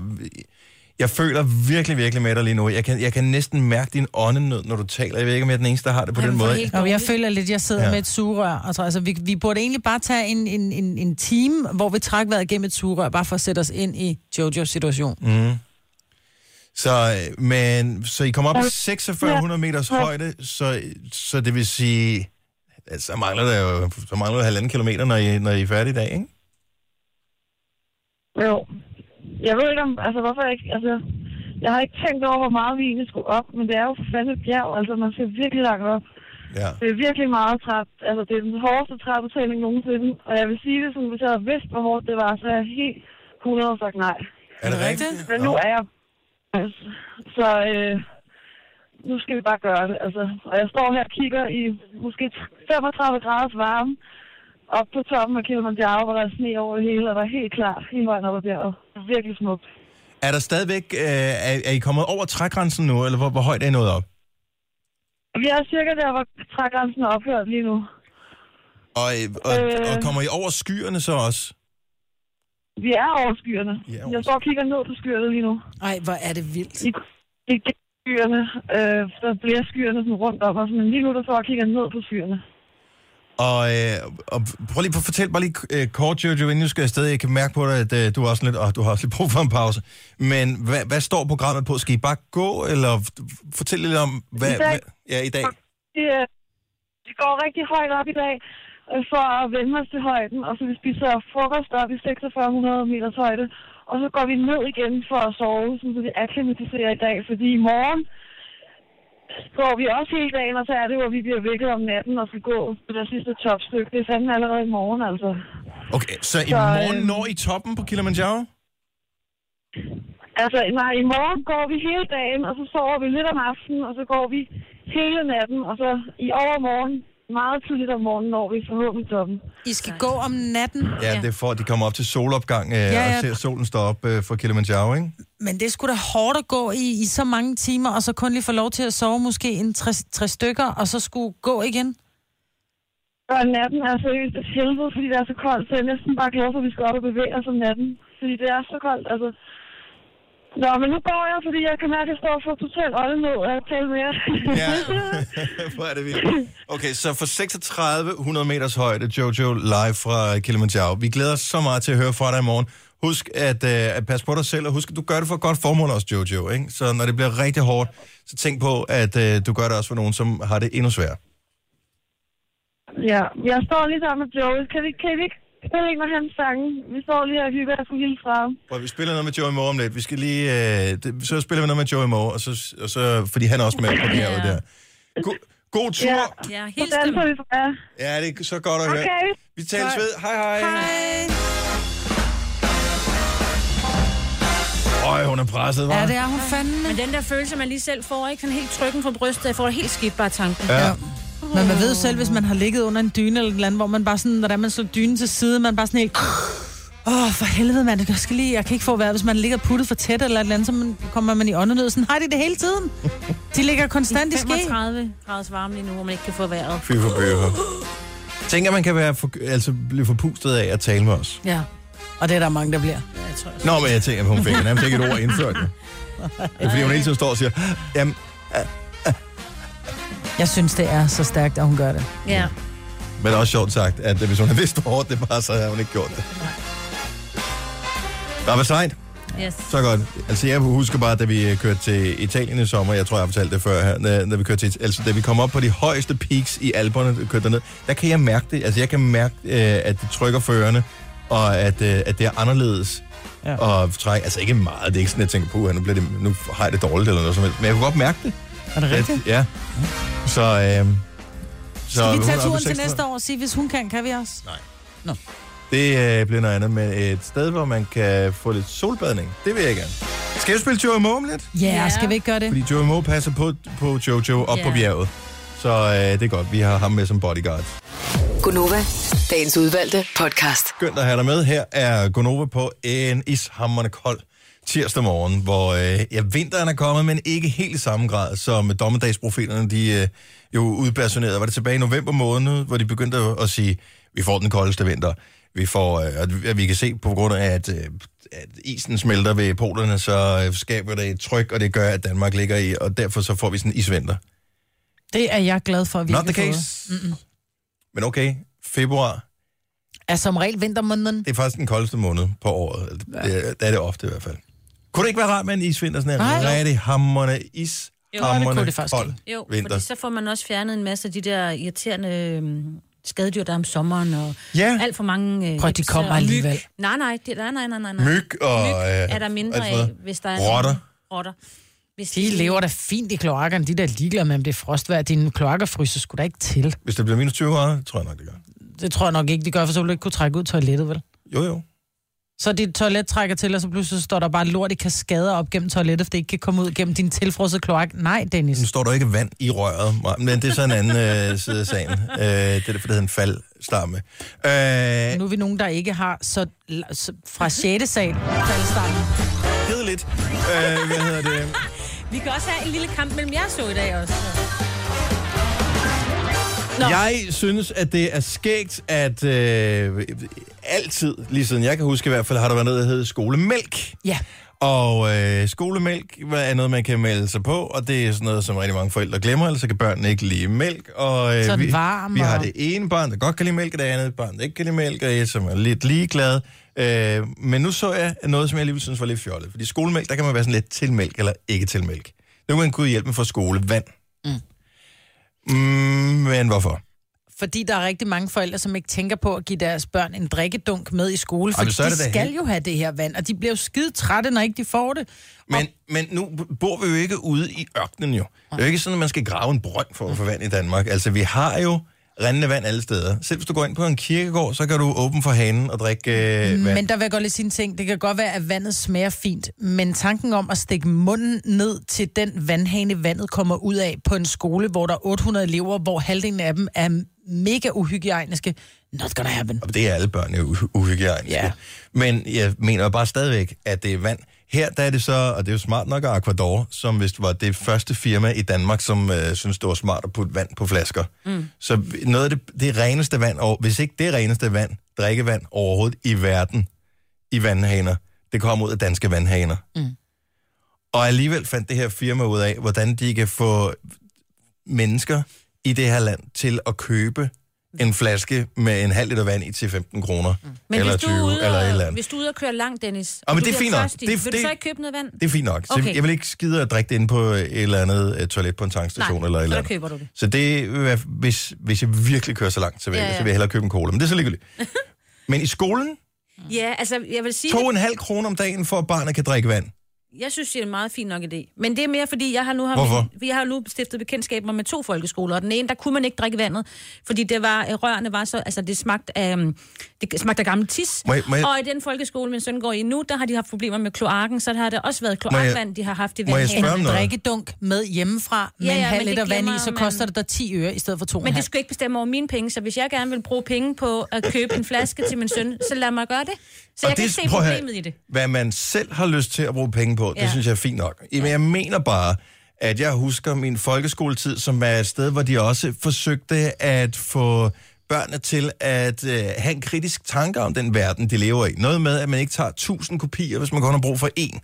Speaker 1: jeg føler virkelig, virkelig med dig lige nu. Jeg kan, jeg kan næsten mærke din åndenød, når du taler. Jeg ved ikke, om jeg er den eneste, der har det på den måde.
Speaker 2: Nå, jeg føler lidt, at jeg sidder
Speaker 1: Ja.
Speaker 2: ja. med et sugerør. Og så, altså, vi, vi burde egentlig bare tage en, en, en, en time, hvor vi trækker vejret gennem et sugerør, bare for at sætte os ind i Jojos situation. Mm.
Speaker 1: Så, øh, men, så I kom op på 4600 meters højde, så, så det vil sige... at Så mangler der jo så mangler der halvanden kilometer, når I, når I er færdige i dag, ikke?
Speaker 6: Jo. Jeg ved ikke om, altså hvorfor jeg ikke, altså, jeg har ikke tænkt over, hvor meget vi egentlig skulle op, men det er jo for fanden et bjerg, altså man skal virkelig langt op.
Speaker 1: Ja.
Speaker 6: Det er virkelig meget træt, altså det er den hårdeste trappetræning nogensinde, og jeg vil sige det sådan, hvis jeg havde vidst, hvor hårdt det var, så er jeg helt 100 sagt nej.
Speaker 1: Er det rigtigt?
Speaker 6: Men nu er jeg, altså, så øh, nu skal vi bare gøre det, altså. Og jeg står her og kigger i måske 35 graders varme, op på toppen af Kilimanjaro, hvor der er sne over det hele, og der er helt klart hele vejen op ad bjerget. Virkelig smukt.
Speaker 1: Er der stadigvæk... Øh, er, er I kommet over trægrænsen nu, eller hvor, hvor højt er I nået op?
Speaker 6: Vi er cirka der, hvor trægrænsen er ophørt lige nu.
Speaker 1: Og, øh, og,
Speaker 6: Øh.
Speaker 1: og kommer I over skyerne så også?
Speaker 6: Vi er over skyerne.
Speaker 1: I er over
Speaker 6: Jeg står og kigger ned på skyerne lige nu.
Speaker 2: Ej, hvor er det vildt.
Speaker 6: I, i skyerne, øh, der bliver skyerne sådan rundt om os, men lige nu der står jeg og kigger ned på skyerne.
Speaker 1: Og, øh, og prøv lige at fortælle bare lige øh, kort, Jojo, inden du skal afsted. Jeg kan mærke på dig, at øh, du, er også lidt, åh, du har også lidt brug for en pause. Men hvad, hvad står programmet på? Skal I bare gå, eller f- fortæl lidt om, hvad...
Speaker 6: I dag.
Speaker 1: hvad ja, i dag.
Speaker 6: Det, øh, vi går rigtig højt op i dag øh, for at vende os til højden, og så vi spiser frokost op i 4600 meters højde, og så går vi ned igen for at sove, sådan så vi akklimatiserer i dag, fordi i morgen går vi også hele dagen, og så er det, hvor vi bliver vækket om natten og skal gå på det sidste topstykke. Det er fandme allerede i morgen, altså.
Speaker 1: Okay, så i
Speaker 6: Så,
Speaker 1: morgen
Speaker 6: øh,
Speaker 1: når I toppen på Kilimanjaro?
Speaker 6: Altså, nej, i morgen går vi hele dagen, og så sover vi lidt om aftenen, og så går vi hele natten, og så i overmorgen, meget tidligt om morgenen, når vi forhåbentlig toppen.
Speaker 2: I skal gå om natten,
Speaker 1: Ja, det er for, at de kommer op til solopgang øh, ja,
Speaker 2: ja.
Speaker 1: og ser solen stå op øh, for Kilimanjaro, ikke?
Speaker 2: men det skulle da hårdt at gå i, i så mange timer, og så kun lige få lov til at sove måske en tre, tre stykker, og så skulle gå igen.
Speaker 6: Og natten er seriøst et helvede, fordi det er så koldt, så jeg er næsten bare glad for, at vi skal op og bevæge os om natten. Fordi det er så koldt, altså. Nå, men nu går jeg, fordi jeg kan mærke, at jeg står for totalt åndenød af at tale med jer.
Speaker 1: Ja, hvor er det vildt. Okay, så for 3600 meters højde, Jojo, live fra Kilimanjaro. Vi glæder os så meget til at høre fra dig i morgen. Husk at, øh, at passe på dig selv, og husk, at du gør det for et godt formål også, Jojo. Ikke? Så når det bliver rigtig hårdt, så tænk på, at øh, du gør det også for nogen, som har det endnu sværere.
Speaker 6: ja, jeg står lige sammen med Joey. Kan vi, kan vi ikke spille en af hans sange? Vi står lige her og hygger, jeg skulle hilse fra ham.
Speaker 1: Og vi spiller noget med Joey Moore om lidt. Vi skal lige, øh, det, så spiller vi noget med Joey Moore, og så, og så, fordi han er også med på det her.
Speaker 3: Ja.
Speaker 1: Der. God, god tur.
Speaker 6: Ja.
Speaker 3: Ja,
Speaker 6: Så
Speaker 3: helt
Speaker 6: danser vi fra jer.
Speaker 1: Ja, det er så godt at høre.
Speaker 6: Okay.
Speaker 1: Vi tales ved. Hej, hej. Øj, hun er presset, var.
Speaker 2: Ja, det er hun fandme.
Speaker 3: Men den der følelse, man lige selv får, ikke? Sådan helt trykken fra brystet. Jeg får det helt skidt bare af tanken.
Speaker 1: Ja.
Speaker 2: Men man ved jo selv, hvis man har ligget under en dyne eller et eller andet, hvor man bare sådan, når det er, man slår dynen til side, man bare sådan helt... Åh, oh, for helvede, mand. Jeg, skal lige, jeg kan ikke få vejret, hvis man ligger puttet for tæt eller et eller andet, så man, kommer man i åndenød. Sådan har de det hele tiden. De ligger konstant i ske.
Speaker 3: 35 graders varme lige nu, hvor man ikke kan få vejret.
Speaker 1: Fy for bøger. Tænker, man kan være for, altså, blive forpustet af at tale med os.
Speaker 2: Ja. Og det er der mange, der bliver.
Speaker 1: Nå, men jeg tænker, at hun fik nærmest ikke et ord indført. jo. Det er Fordi hun hele tiden står og siger, jamen,
Speaker 2: Jeg synes, det er så stærkt, at hun gør det.
Speaker 3: Ja.
Speaker 1: men det er også sjovt sagt, at hvis hun havde vidst, hvor hårdt det var, så havde hun ikke gjort det. Nå, hvad sejt.
Speaker 3: Yes.
Speaker 1: Så godt. Altså, jeg husker bare, da vi øh, kørte til Italien i sommer, jeg tror, jeg har fortalt det før her, da, da vi kørte til, altså, da vi kom op på de højeste peaks i Alperne, da vi kørte derned, der kan jeg mærke det. Altså, jeg kan mærke, øh, at det trykker førerne og at, øh, at det er anderledes
Speaker 2: Ja.
Speaker 1: ja. at trække. Altså ikke meget, det er ikke sådan, jeg tænker på, nu, bliver det, nu har jeg det dårligt eller noget som helst, men jeg kunne godt mærke det.
Speaker 2: Er det rigtigt?
Speaker 1: At, ja. Så, øh, så
Speaker 2: Skal
Speaker 1: hun
Speaker 2: vi
Speaker 1: er
Speaker 2: tage
Speaker 1: oppe i
Speaker 2: turen til
Speaker 1: 600.
Speaker 2: næste år og sige, hvis hun kan, kan vi også?
Speaker 1: Nej.
Speaker 2: Nå.
Speaker 1: Det øh, bliver noget andet, men et sted, hvor man kan få lidt solbadning, det vil jeg gerne. Skal jeg spille Joe Moe om lidt?
Speaker 2: Ja,
Speaker 3: Ja.
Speaker 2: yeah. skal vi ikke gøre det?
Speaker 1: Fordi Joe Moe passer på, på Jojo op
Speaker 3: Ja.
Speaker 1: på bjerget. Så øh, det er godt, vi har ham med som bodyguard.
Speaker 4: Gunova, dagens udvalgte podcast.
Speaker 1: Skønt at have dig med. Her er Gonova på en ishammerende kold tirsdag morgen, hvor øh, ja, vinteren er kommet, men ikke helt i samme grad, som dommedagsprofeterne de, øh, jo udpersonerede. Var det tilbage i november måned, hvor de begyndte at, at sige, vi får den koldeste vinter. Vi får, øh, at vi- at vi kan se på grund af, at, øh, at isen smelter ved polerne, så øh, skaber det et tryk, og det gør, at Danmark ligger i, og derfor så får vi sådan en isvinter.
Speaker 2: Det er jeg glad for, at vi
Speaker 1: Not the
Speaker 2: ikke har fået.
Speaker 1: case. Mm-mm. Men okay, februar,
Speaker 2: Er Altså, som regel vintermåneden.
Speaker 1: Det er faktisk den koldeste måned på året. Ja. Det, det er det ofte i hvert fald. Kunne det ikke være rart med en isvinter? Sådan her
Speaker 2: Nej.
Speaker 1: rigtig hammerne is,
Speaker 3: Jo,
Speaker 2: det kunne
Speaker 1: hammerne
Speaker 2: det faktisk
Speaker 1: kold
Speaker 3: Jo,
Speaker 1: vinter.
Speaker 3: fordi så får man også fjernet en masse af de der irriterende øhm, skadedyr, der er om sommeren, og
Speaker 1: Ja.
Speaker 3: alt for mange... Øh,
Speaker 2: Prøv, de
Speaker 3: hepser
Speaker 2: kommer
Speaker 3: og myg.
Speaker 2: alligevel.
Speaker 3: Nej, nej, det, nej, nej, nej, nej. nej.
Speaker 1: Myg og...
Speaker 3: Myg
Speaker 1: øh,
Speaker 3: er der mindre
Speaker 1: alt sådan
Speaker 3: af,
Speaker 1: noget.
Speaker 3: hvis der er...
Speaker 1: Rotter.
Speaker 3: Rotter. Hvis
Speaker 2: De lever da fint i kloakkerne, de der er ligeglade med, om det er frostvejr. Dine kloakker fryser sgu da ikke til.
Speaker 1: Hvis det bliver minus 20 grader, tror jeg nok, det gør.
Speaker 2: Det tror jeg nok ikke, de gør, for så ville du ikke kunne trække ud toilettet, vel?
Speaker 1: Jo, jo.
Speaker 2: Så dit toilet trækker til, og så pludselig står der bare lort i kaskader op gennem toilettet, for det ikke kan komme ud gennem din tilfrosset kloak. Nej, Dennis.
Speaker 1: Nu står der ikke vand i røret, Maja, men det er så en anden øh, side af sagen. Øh, det er derfor, det hedder en faldstamme. Øh,
Speaker 2: Nu er vi nogen, der ikke har så, så fra 6. sal faldstammen.
Speaker 1: kedeligt. Øh, hvad hedder det?
Speaker 3: Vi kan også have en lille kamp mellem jer så i dag også.
Speaker 1: Nå. Jeg synes, at det er skægt, at øh, altid, lige siden jeg kan huske i hvert fald, har der været noget, der hedder skolemælk.
Speaker 2: Ja.
Speaker 1: Og øh, skolemælk er noget, man kan melde sig på, og det er sådan noget, som rigtig mange forældre glemmer, ellers så kan børnene ikke lide mælk. Og, øh,
Speaker 2: Så er den
Speaker 1: vi,
Speaker 2: varm
Speaker 1: vi har
Speaker 2: og-
Speaker 1: det ene barn, der godt kan lide mælk, og det andet barn, der ikke kan lide mælk, og jeg som er lidt ligeglad. Øh, men nu så jeg noget, som jeg alligevel synes var lidt fjollet. Fordi skolemælk, der kan man være sådan lidt til mælk eller ikke til mælk. Nu kan man kunne hjælpe med for skolevand. Mm. Mm, men hvorfor?
Speaker 2: Fordi der er rigtig mange forældre, som ikke tænker på at give deres børn en drikkedunk med i skole,
Speaker 1: Ej, men
Speaker 2: for
Speaker 1: så er
Speaker 2: de
Speaker 1: det da
Speaker 2: skal
Speaker 1: helt-
Speaker 2: jo have det her vand, og de bliver jo skide trætte, når ikke de får det.
Speaker 1: Men, men nu bor vi jo ikke ude i ørkenen jo. Det er jo ikke sådan, at man skal grave en brønd for at få vand i Danmark. Altså, vi har jo rendende vand alle steder. Selv hvis du går ind på en kirkegård, så kan du åbne for hanen og drikke øh, vand.
Speaker 2: Mm, Men der vil jeg godt lige sige en ting. Det kan godt være, at vandet smager fint, men tanken om at stikke munden ned til den vandhane, vandet kommer ud af på en skole, hvor der er 800 elever, hvor halvdelen af dem er mega uhygiejniske. Not gonna happen.
Speaker 1: Og det er alle børn jo uh- uhygiejniske.
Speaker 2: Ja.
Speaker 1: Men jeg mener bare stadigvæk, at det er vand. Her der er det så, og det er jo smart nok af Aquador, som hvis det var det første firma i Danmark, som øh, synes det var smart at putte vand på flasker. Mm. Så noget af det, det reneste vand, og hvis ikke det reneste vand, drikkevand overhovedet i verden, i vandhaner, det kommer ud af danske vandhaner. Mm. Og alligevel fandt det her firma ud af, hvordan de kan få mennesker i det her land til at købe en flaske med en halv liter vand i til 15 kroner. Mm.
Speaker 3: Men
Speaker 1: eller
Speaker 3: hvis du,
Speaker 1: 20,
Speaker 3: er ude
Speaker 1: eller et
Speaker 3: og,
Speaker 1: eller andet.
Speaker 3: hvis du er ude og kører langt, Dennis,
Speaker 1: men det
Speaker 3: du
Speaker 1: er
Speaker 3: bliver
Speaker 1: fint nok.
Speaker 3: Tørstig,
Speaker 1: Det- det-
Speaker 3: vil du så ikke købe noget vand?
Speaker 1: Det er fint nok. Så
Speaker 3: Okay.
Speaker 1: jeg vil ikke skide at drikke det inde på et eller andet uh, toilet på en tankstation
Speaker 3: Nej,
Speaker 1: eller et
Speaker 3: så
Speaker 1: eller
Speaker 3: der
Speaker 1: andet.
Speaker 3: køber du det.
Speaker 1: Så det vil være, hvis, hvis jeg virkelig kører så langt tilbage, ja,
Speaker 3: Ja,
Speaker 1: ja.
Speaker 3: ja.
Speaker 1: så vil jeg hellere købe en cola. Men det er så ligegyldigt. Men i skolen,
Speaker 3: Ja, altså, jeg vil sige...
Speaker 1: to en halv kroner om dagen for, at barnet kan drikke vand.
Speaker 3: Jeg synes, det er en meget fin nok idé. Men det er mere, fordi jeg har nu, har
Speaker 1: Hvorfor?
Speaker 3: vi har nu stiftet bekendtskaber med to folkeskoler, og den ene, der kunne man ikke drikke vandet, fordi det var, øh, rørene var så, altså det smagte af, øhm, det smagte af gammel tis.
Speaker 1: Må jeg- må jeg-
Speaker 3: Og i den folkeskole, min søn går i nu, der har de haft problemer med kloakken, så har det også været
Speaker 1: jeg-
Speaker 3: kloakvand, de har haft i
Speaker 1: må jeg
Speaker 3: vandhanen.
Speaker 1: spørge om
Speaker 2: En
Speaker 1: noget?
Speaker 2: drikkedunk med hjemmefra med
Speaker 3: Ja,
Speaker 2: ja, ja,
Speaker 3: ja,
Speaker 2: en halv
Speaker 3: men det
Speaker 2: liter vand i,
Speaker 3: glemmer
Speaker 2: så
Speaker 3: man.
Speaker 2: koster det dig 10 øre i stedet for 2,5.
Speaker 3: Men det skulle ikke bestemme over mine penge, så hvis jeg gerne vil bruge penge på at købe en flaske til min søn, så lad mig gøre det. Så
Speaker 1: Og
Speaker 3: jeg kan ikke se
Speaker 1: prøv at høre,
Speaker 3: problemet i det.
Speaker 1: Hvad man selv har lyst til at bruge penge på, ja. det
Speaker 3: Ja.
Speaker 1: synes jeg er fint nok. Men jeg mener bare, at jeg husker min folkeskoletid, som er et sted, hvor de også forsøgte at få børnene til at øh, have en kritisk tanke om den verden, de lever i. Noget med, at man ikke tager tusind kopier, hvis man kun har brug for én.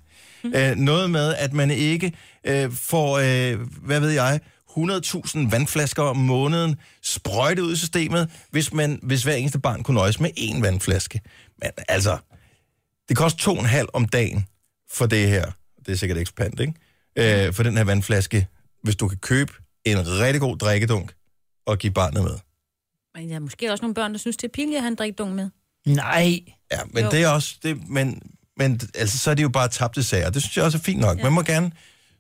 Speaker 1: Øh, noget med, at man ikke øh, får, øh, hvad ved jeg, 100.000 vandflasker om måneden sprøjtet ud i systemet, hvis, man, hvis hver eneste barn kunne nøjes med én vandflaske. Men altså, det koster to og en halv om dagen for det her. Det er sikkert ekspand, ikke? Øh, for den her vandflaske, hvis du kan købe en rigtig god drikkedunk og give barnet med.
Speaker 3: Men der er måske også nogle børn, der synes, det er pinligt at have en drikkedunk med.
Speaker 2: Nej.
Speaker 1: Ja, men jo. det er også... Det, men, men altså, så er det jo bare tabte sager. Det synes jeg også er fint nok. Ja. Man må gerne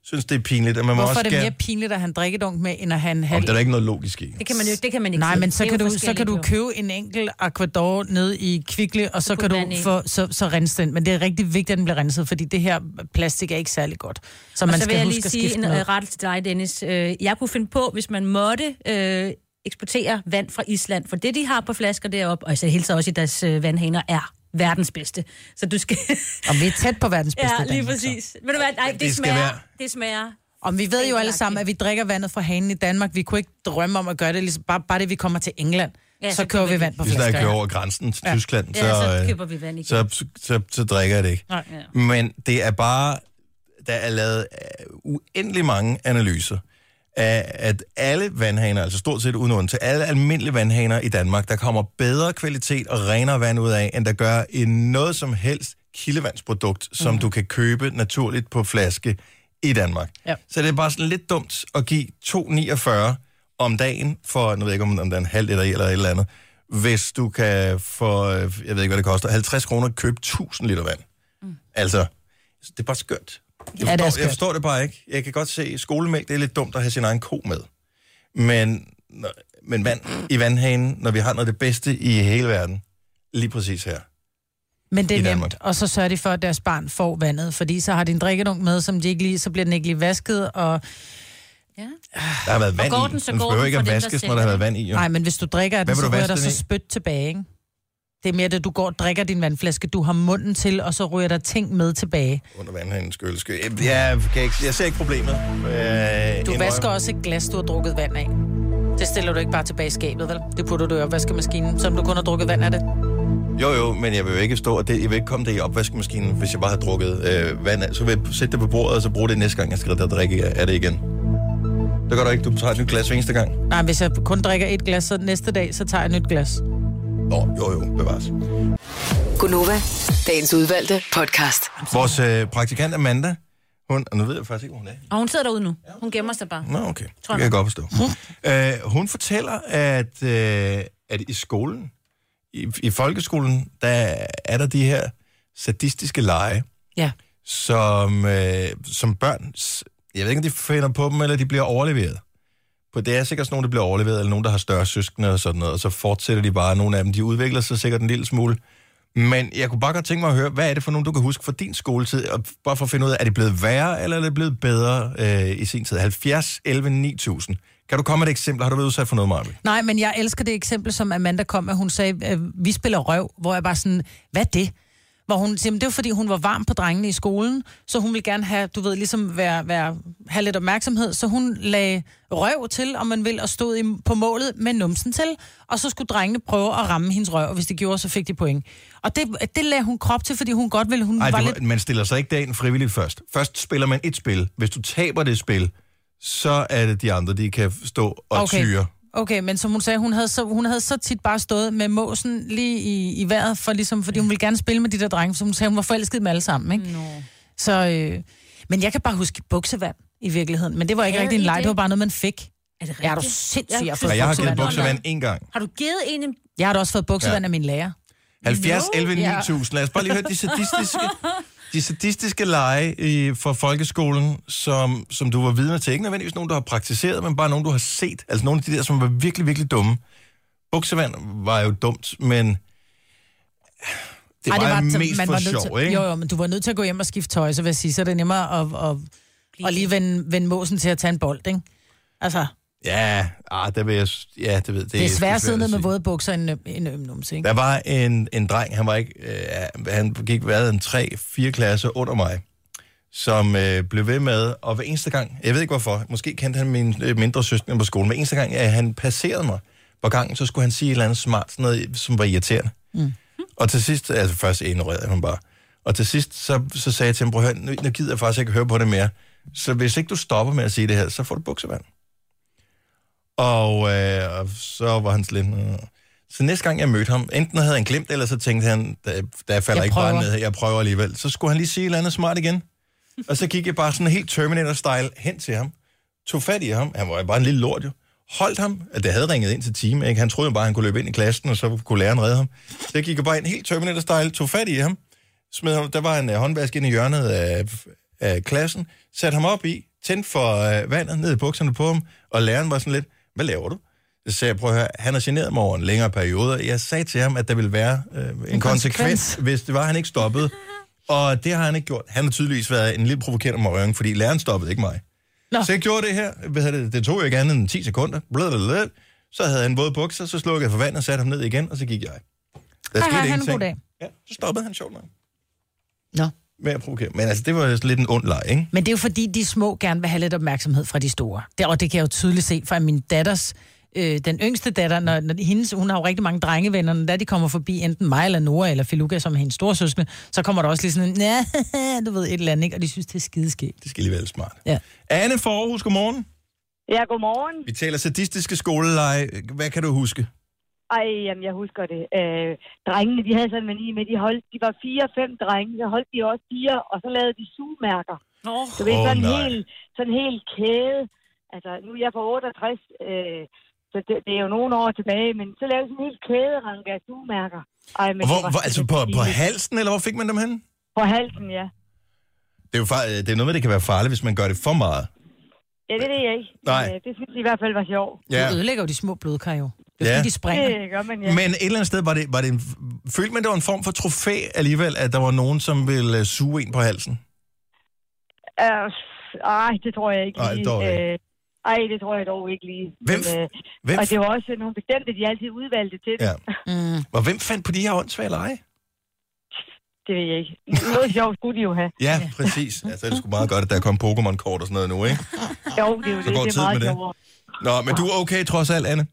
Speaker 1: synes, det er pinligt, og man må
Speaker 2: Hvorfor
Speaker 1: også
Speaker 2: er det mere
Speaker 1: gerne...
Speaker 2: pinligt at have en drikkedunk med, end at have en halv?
Speaker 1: Om der er ikke noget logisk i.
Speaker 3: Det kan man jo det kan man ikke.
Speaker 2: Nej,
Speaker 3: sige.
Speaker 2: men så
Speaker 3: Det er
Speaker 2: kan,
Speaker 3: jo
Speaker 2: du, så kan du
Speaker 3: forskelligt, jo.
Speaker 2: købe en enkelt Aquador ned i Kvickle, og så, kan
Speaker 3: putte
Speaker 2: du
Speaker 3: vand i.
Speaker 2: få, så, så rense den. Men det er rigtig vigtigt, at den bliver renset, fordi det her plastik er ikke særlig godt. Så man
Speaker 3: Og så vil
Speaker 2: skal
Speaker 3: jeg
Speaker 2: huske
Speaker 3: lige
Speaker 2: at
Speaker 3: sige
Speaker 2: skifte
Speaker 3: en
Speaker 2: noget.
Speaker 3: øh, rettelse til dig, Dennis. Øh, Jeg kunne finde på, hvis man måtte øh, eksportere vand fra Island, for det, de har på flasker deroppe, og så hele tiden også i deres øh, vandhaner, er verdens bedste. Så du skal...
Speaker 2: Om vi er tæt på verdens bedste
Speaker 3: ja, lige
Speaker 2: Danmark, så.
Speaker 3: præcis. Ved du hvad? Ej,
Speaker 1: det
Speaker 3: det, det
Speaker 1: skal
Speaker 3: smager.
Speaker 1: være-
Speaker 3: Det smager.
Speaker 2: Om vi ved jo alle sammen, at vi drikker vandet fra hanen i Danmark. Vi kunne ikke drømme om at gøre det, ligesom bare, bare det, vi kommer til England. Ja,
Speaker 3: Ja,
Speaker 2: så,
Speaker 3: så
Speaker 2: kører
Speaker 3: kan
Speaker 2: vi
Speaker 3: vi
Speaker 2: vand på
Speaker 1: Hvis der
Speaker 2: flasker.
Speaker 1: er kører over grænsen til ja. Tyskland, så,
Speaker 3: Ja, så
Speaker 1: øh,
Speaker 3: køber vi vand igen.
Speaker 1: så, så, så, så drikker jeg det ikke.
Speaker 2: Nej.
Speaker 1: Men det er bare, der er lavet øh, uendelig mange analyser af, at alle vandhaner, altså stort set uden til alle almindelige vandhaner i Danmark, der kommer bedre kvalitet og renere vand ud af, end der gør i noget som helst kildevandsprodukt, som du kan købe naturligt på flaske i Danmark.
Speaker 2: Ja.
Speaker 1: Så det er bare sådan lidt dumt at give 2,49 om dagen for, nu ved jeg ikke, om om der er en halv liter i eller et eller andet, hvis du kan for, øh, jeg ved ikke, hvad det koster, 50 kroner købe 1000 liter vand.
Speaker 3: Mm.
Speaker 1: Altså, det er bare skørt. Jeg
Speaker 2: Ja, det
Speaker 1: forstår,
Speaker 2: er
Speaker 1: jeg
Speaker 2: skørt.
Speaker 1: forstår det bare ikke. Jeg kan godt se, at skolemælk det er lidt dumt at have sin egen ko med. Men, når- men vand i vandhanen, når vi har noget af det bedste i hele verden, lige præcis her.
Speaker 2: Men det
Speaker 1: i
Speaker 2: er
Speaker 1: Danmark.
Speaker 2: nemt, og så sørger de for, at deres barn får vandet, fordi så har de en drikkedunk med, som de ikke lige, så bliver den ikke lige vasket, og
Speaker 1: Der har været vand
Speaker 3: går
Speaker 1: i.
Speaker 3: den, så
Speaker 1: den
Speaker 3: går
Speaker 1: behøver
Speaker 3: den
Speaker 1: ikke at
Speaker 3: for dem, der
Speaker 1: vaskes, når
Speaker 3: sælger
Speaker 1: der har været
Speaker 3: den.
Speaker 1: vand i. Jo.
Speaker 2: nej, men hvis du drikker af
Speaker 1: Hvad
Speaker 2: den,
Speaker 1: vil
Speaker 2: så
Speaker 1: du
Speaker 2: ryger
Speaker 1: vaske
Speaker 2: der
Speaker 1: den
Speaker 2: så
Speaker 1: i?
Speaker 2: spyt tilbage, ikke? Det er mere det, du går og drikker din vandflaske, du har munden til, og så ryger der ting med tilbage.
Speaker 1: Under vandhanens køleske. Jeg, jeg, kan ikke, jeg ser ikke problemet. Øh,
Speaker 2: Du vasker også et glas, du har drukket vand af. Det stiller du ikke bare tilbage i skabet, vel? Det putter du i opvaskemaskinen, som du kun har drukket vand af det.
Speaker 1: Jo, jo, men jeg vil jo ikke stå, og det, jeg vil ikke komme det i opvaskemaskinen, hvis jeg bare har drukket øh, vand af. Så vil jeg sætte det på bordet, og så bruge det næste gang, jeg skal der drikke af det igen. Det gør du ikke, du tager et nyt glas hver eneste gang.
Speaker 2: Nej, hvis jeg kun drikker et glas, så næste dag, så tager jeg et nyt glas.
Speaker 1: Nå, jo, jo, bevares.
Speaker 4: Gunova, dagens udvalgte podcast.
Speaker 1: Vores øh, praktikant Amanda, hun, og nu ved jeg faktisk ikke, hvor hun er.
Speaker 3: Og hun sidder derude nu. Hun gemmer sig bare.
Speaker 1: Nå, okay. Det kan jeg godt forstå. Øh, hun fortæller, at, øh, at i skolen, i, i folkeskolen, der er der de her sadistiske lege,
Speaker 2: Ja.
Speaker 1: som, øh, som børn, s- jeg ved ikke, om de finder på dem, eller de bliver overleveret. For det er sikkert sådan nogen, der bliver overleveret, eller nogen, der har større søskende og sådan noget, og så fortsætter de bare. Nogle af dem, de udvikler sig sikkert en lille smule. Men jeg kunne bare godt tænke mig at høre, hvad er det for nogen, du kan huske fra din skoletid? Og bare for at finde ud af, er det blevet værre, eller er det blevet bedre øh, i sin tid? 70, 11, 9000. Kan du komme med et eksempel? Har du været udsat for noget, Marvind?
Speaker 2: Nej, men jeg elsker det eksempel, som Amanda kom med. Hun sagde, øh, vi spiller røv, hvor jeg bare sådan, hvad er det? Hvor hun siger, "Men det var fordi, hun var varm på drengene i skolen, så hun ville gerne have, du ved, ligesom være, være, have lidt opmærksomhed, så hun lagde røv til, om man vil, og stod i, på målet med numsen til, og så skulle drengene prøve at ramme hendes røv, og hvis de gjorde, så fik de point. Og det, det lagde hun krop til, fordi hun godt ville, hun
Speaker 1: Ej,
Speaker 2: Mm, var
Speaker 1: det,
Speaker 2: lidt...
Speaker 1: var- man stiller sig ikke dagen frivilligt først. Først spiller man et spil. Hvis du taber det spil, så er det de andre, de kan stå og okay. tyre.
Speaker 2: Okay, men som hun sagde, hun havde så, hun havde så tit bare stået med måsen lige i, i vejret, for ligesom, fordi hun ville gerne spille med de der drenge, så hun sagde, hun var forelsket dem alle sammen. Ikke? No. Så, øh, men jeg kan bare huske buksevand i virkeligheden, men det var ikke
Speaker 3: Havde
Speaker 2: rigtig en
Speaker 3: I
Speaker 2: leg,
Speaker 3: det?
Speaker 2: det var bare noget, man fik.
Speaker 3: Er det
Speaker 2: Ja, er du
Speaker 3: rigtigt?
Speaker 2: sindssyg, jeg har
Speaker 1: Og
Speaker 2: fået
Speaker 1: jeg har givet
Speaker 2: buksevand.
Speaker 1: buksevand en gang.
Speaker 3: Har du givet en en...
Speaker 2: Jeg har da også fået buksevand
Speaker 1: Ja.
Speaker 2: ja. af min lærer.
Speaker 1: 70, 11,
Speaker 2: Ja.
Speaker 1: 9000. Lad os bare lige høre de sadistiske, de sadistiske lege i, fra folkeskolen, som, som du var vidne til. Ikke nødvendigvis nogen, du har praktiseret, men bare nogen, du har set. Altså nogle af de der, som var virkelig, virkelig dumme. Buksevand var jo dumt, men det var, Ej, det var
Speaker 2: til-
Speaker 1: mest for
Speaker 2: var nødt
Speaker 1: sjov,
Speaker 2: til,
Speaker 1: ikke?
Speaker 2: Jo, jo, men du var nødt til at gå hjem og skifte tøj, så vil jeg sige, så er det nemmere at, at, at lige vende, vende måsen til at tage en bold, ikke? Altså,
Speaker 1: Ja, ah, der vil jeg... s- Ja, det ved det.
Speaker 2: det er
Speaker 1: sgu
Speaker 2: sværere at sidde
Speaker 1: at
Speaker 2: ned med
Speaker 1: sige.
Speaker 2: våde bukser end øm- en øm numse, ikke?
Speaker 1: Der var en, en dreng, han var ikke, øh, han gik hvad en 3-4 klasser under mig, som øh, blev ved med, og hver eneste gang, jeg ved ikke hvorfor, måske kendte han min øh, mindre søster på skolen, hver eneste gang, at han passerede mig på gangen, så skulle han sige et eller andet smart, sådan noget, som var irriterende. Mm. Og til sidst, altså først ignorerede han bare, og til sidst, så, så sagde jeg til ham, prøv at høre, nu, nu gider jeg faktisk ikke høre på det mere, så hvis ikke du stopper med at sige det her, så får du buksevand. Og, øh, og så var han sådan lidt... Øh. Så næste gang jeg mødte ham, enten havde han glemt, eller så tænkte han, der, der falder
Speaker 2: Jeg
Speaker 1: ikke bare
Speaker 2: prøver."
Speaker 1: ned, jeg prøver alligevel. Så skulle han lige sige et eller andet smart igen. Og så gik jeg bare sådan helt Terminator-style hen til ham, tog fat i ham, han var jo bare en lille lort jo, holdt ham. At det havde ringet ind til team, ikke? Han troede jo bare, at han kunne løbe ind i klassen, og så kunne læreren redde ham. Så jeg gik jo bare ind helt Terminator-style, tog fat i ham, smed ham. Der var en uh, håndvask inde i hjørnet af, af klassen, satte ham op i, tændte for uh, vandet ned i bukserne på ham, og læreren var sådan lidt, hvad laver du? Så sagde jeg, prøv at høre, han har generet mig over en længere periode, og jeg sagde til ham, at der ville være øh, en, en konsekvens, konsekvens, hvis det var, han ikke stoppede. Og det har han ikke gjort. Han har tydeligvis været en lille provokerende morgen, fordi læreren stoppede ikke mig. Nå. Så jeg gjorde det her. Hvad hedder det? det tog jo ikke andet end 10 sekunder. Blablabla. Så havde han våde bukser, så slukkede jeg for vand og satte ham ned igen, og så gik jeg. Der
Speaker 2: Hej, hej, han en
Speaker 1: ingenting.
Speaker 2: god dag.
Speaker 1: Ja, så stoppede han sjovt nok
Speaker 2: Nå.
Speaker 1: med at provokere. Men altså, det var sådan lidt en ond leg, ikke?
Speaker 2: Men det er jo fordi, de små gerne vil have lidt opmærksomhed fra de store. Det, og det kan jeg jo tydeligt se fra min datters, øh, den yngste datter, når, når hendes, hun har jo rigtig mange drengevenner, når de kommer forbi enten mig eller Nora eller Filuka, som er hendes storsøskende, så kommer der også lige sådan en, "Næh, du ved et eller andet, ikke? og de synes, det er skideskægt.
Speaker 1: Det skal lige være lidt smart.
Speaker 2: Ja.
Speaker 1: Anne for Aarhus, godmorgen.
Speaker 7: Ja, godmorgen.
Speaker 1: Vi taler sadistiske skoleleje. Hvad kan du huske?
Speaker 7: Ej, jamen, jeg husker det. Øh, drengene, de havde sådan en mani med, de, holdt, de var fire-fem drenge, så holdt de også fire, og så lavede de sugemærker.
Speaker 3: Åh.
Speaker 7: Du ved,
Speaker 1: Åh,
Speaker 7: sådan en
Speaker 1: nej.
Speaker 7: hel, sådan en hel kæde. Altså, nu er jeg på 68, øh, så det, det, er jo nogle år tilbage, men så lavede de sådan en hel kæderanke af sugemærker. Ej, men
Speaker 1: Og
Speaker 7: det
Speaker 1: hvor,
Speaker 7: var
Speaker 1: hvor, altså på,
Speaker 7: simpelthen
Speaker 1: på
Speaker 7: pinligt.
Speaker 1: halsen, eller hvor fik man dem hen?
Speaker 7: På halsen, ja.
Speaker 1: Det er jo far, det er noget med, det kan være farligt, hvis man gør det for meget.
Speaker 7: Ja, det ved jeg ikke.
Speaker 1: Nej.
Speaker 7: Men, øh, det synes jeg i hvert fald var sjovt.
Speaker 2: Ja. Du ødelægger jo de små blodkar jo. Det er
Speaker 1: Ja.
Speaker 2: ja. fordi, de springer.
Speaker 7: Det gør man, ja.
Speaker 1: Men et eller andet sted var det, var det en, følte man, det var en form for trofæ alligevel, at der var nogen, som ville øh, suge en på halsen?
Speaker 7: Øh, ej, det tror jeg ikke
Speaker 1: Ej,
Speaker 7: lige.
Speaker 1: dog ikke.
Speaker 7: Øh, ej, det tror jeg dog ikke lige.
Speaker 1: Hvem-
Speaker 7: Men, øh,
Speaker 1: Hvem,
Speaker 7: og det var også nogle bestemte, de altid udvalgte til det.
Speaker 1: Ja.
Speaker 7: Ja.
Speaker 2: Mm.
Speaker 1: og hvem fandt på de her åndssvage lege?
Speaker 7: Det ved jeg ikke. Noget sjovt skulle de jo have.
Speaker 1: Ja, præcis. Altså, det skulle meget godt, at der kom Pokémon-kort og sådan noget nu, ikke?
Speaker 7: Jo, det er jo
Speaker 1: Så
Speaker 7: det,
Speaker 1: går
Speaker 7: det er
Speaker 1: tiden med det.
Speaker 7: meget sjovere.
Speaker 1: Nå, men du er okay trods alt, Anne.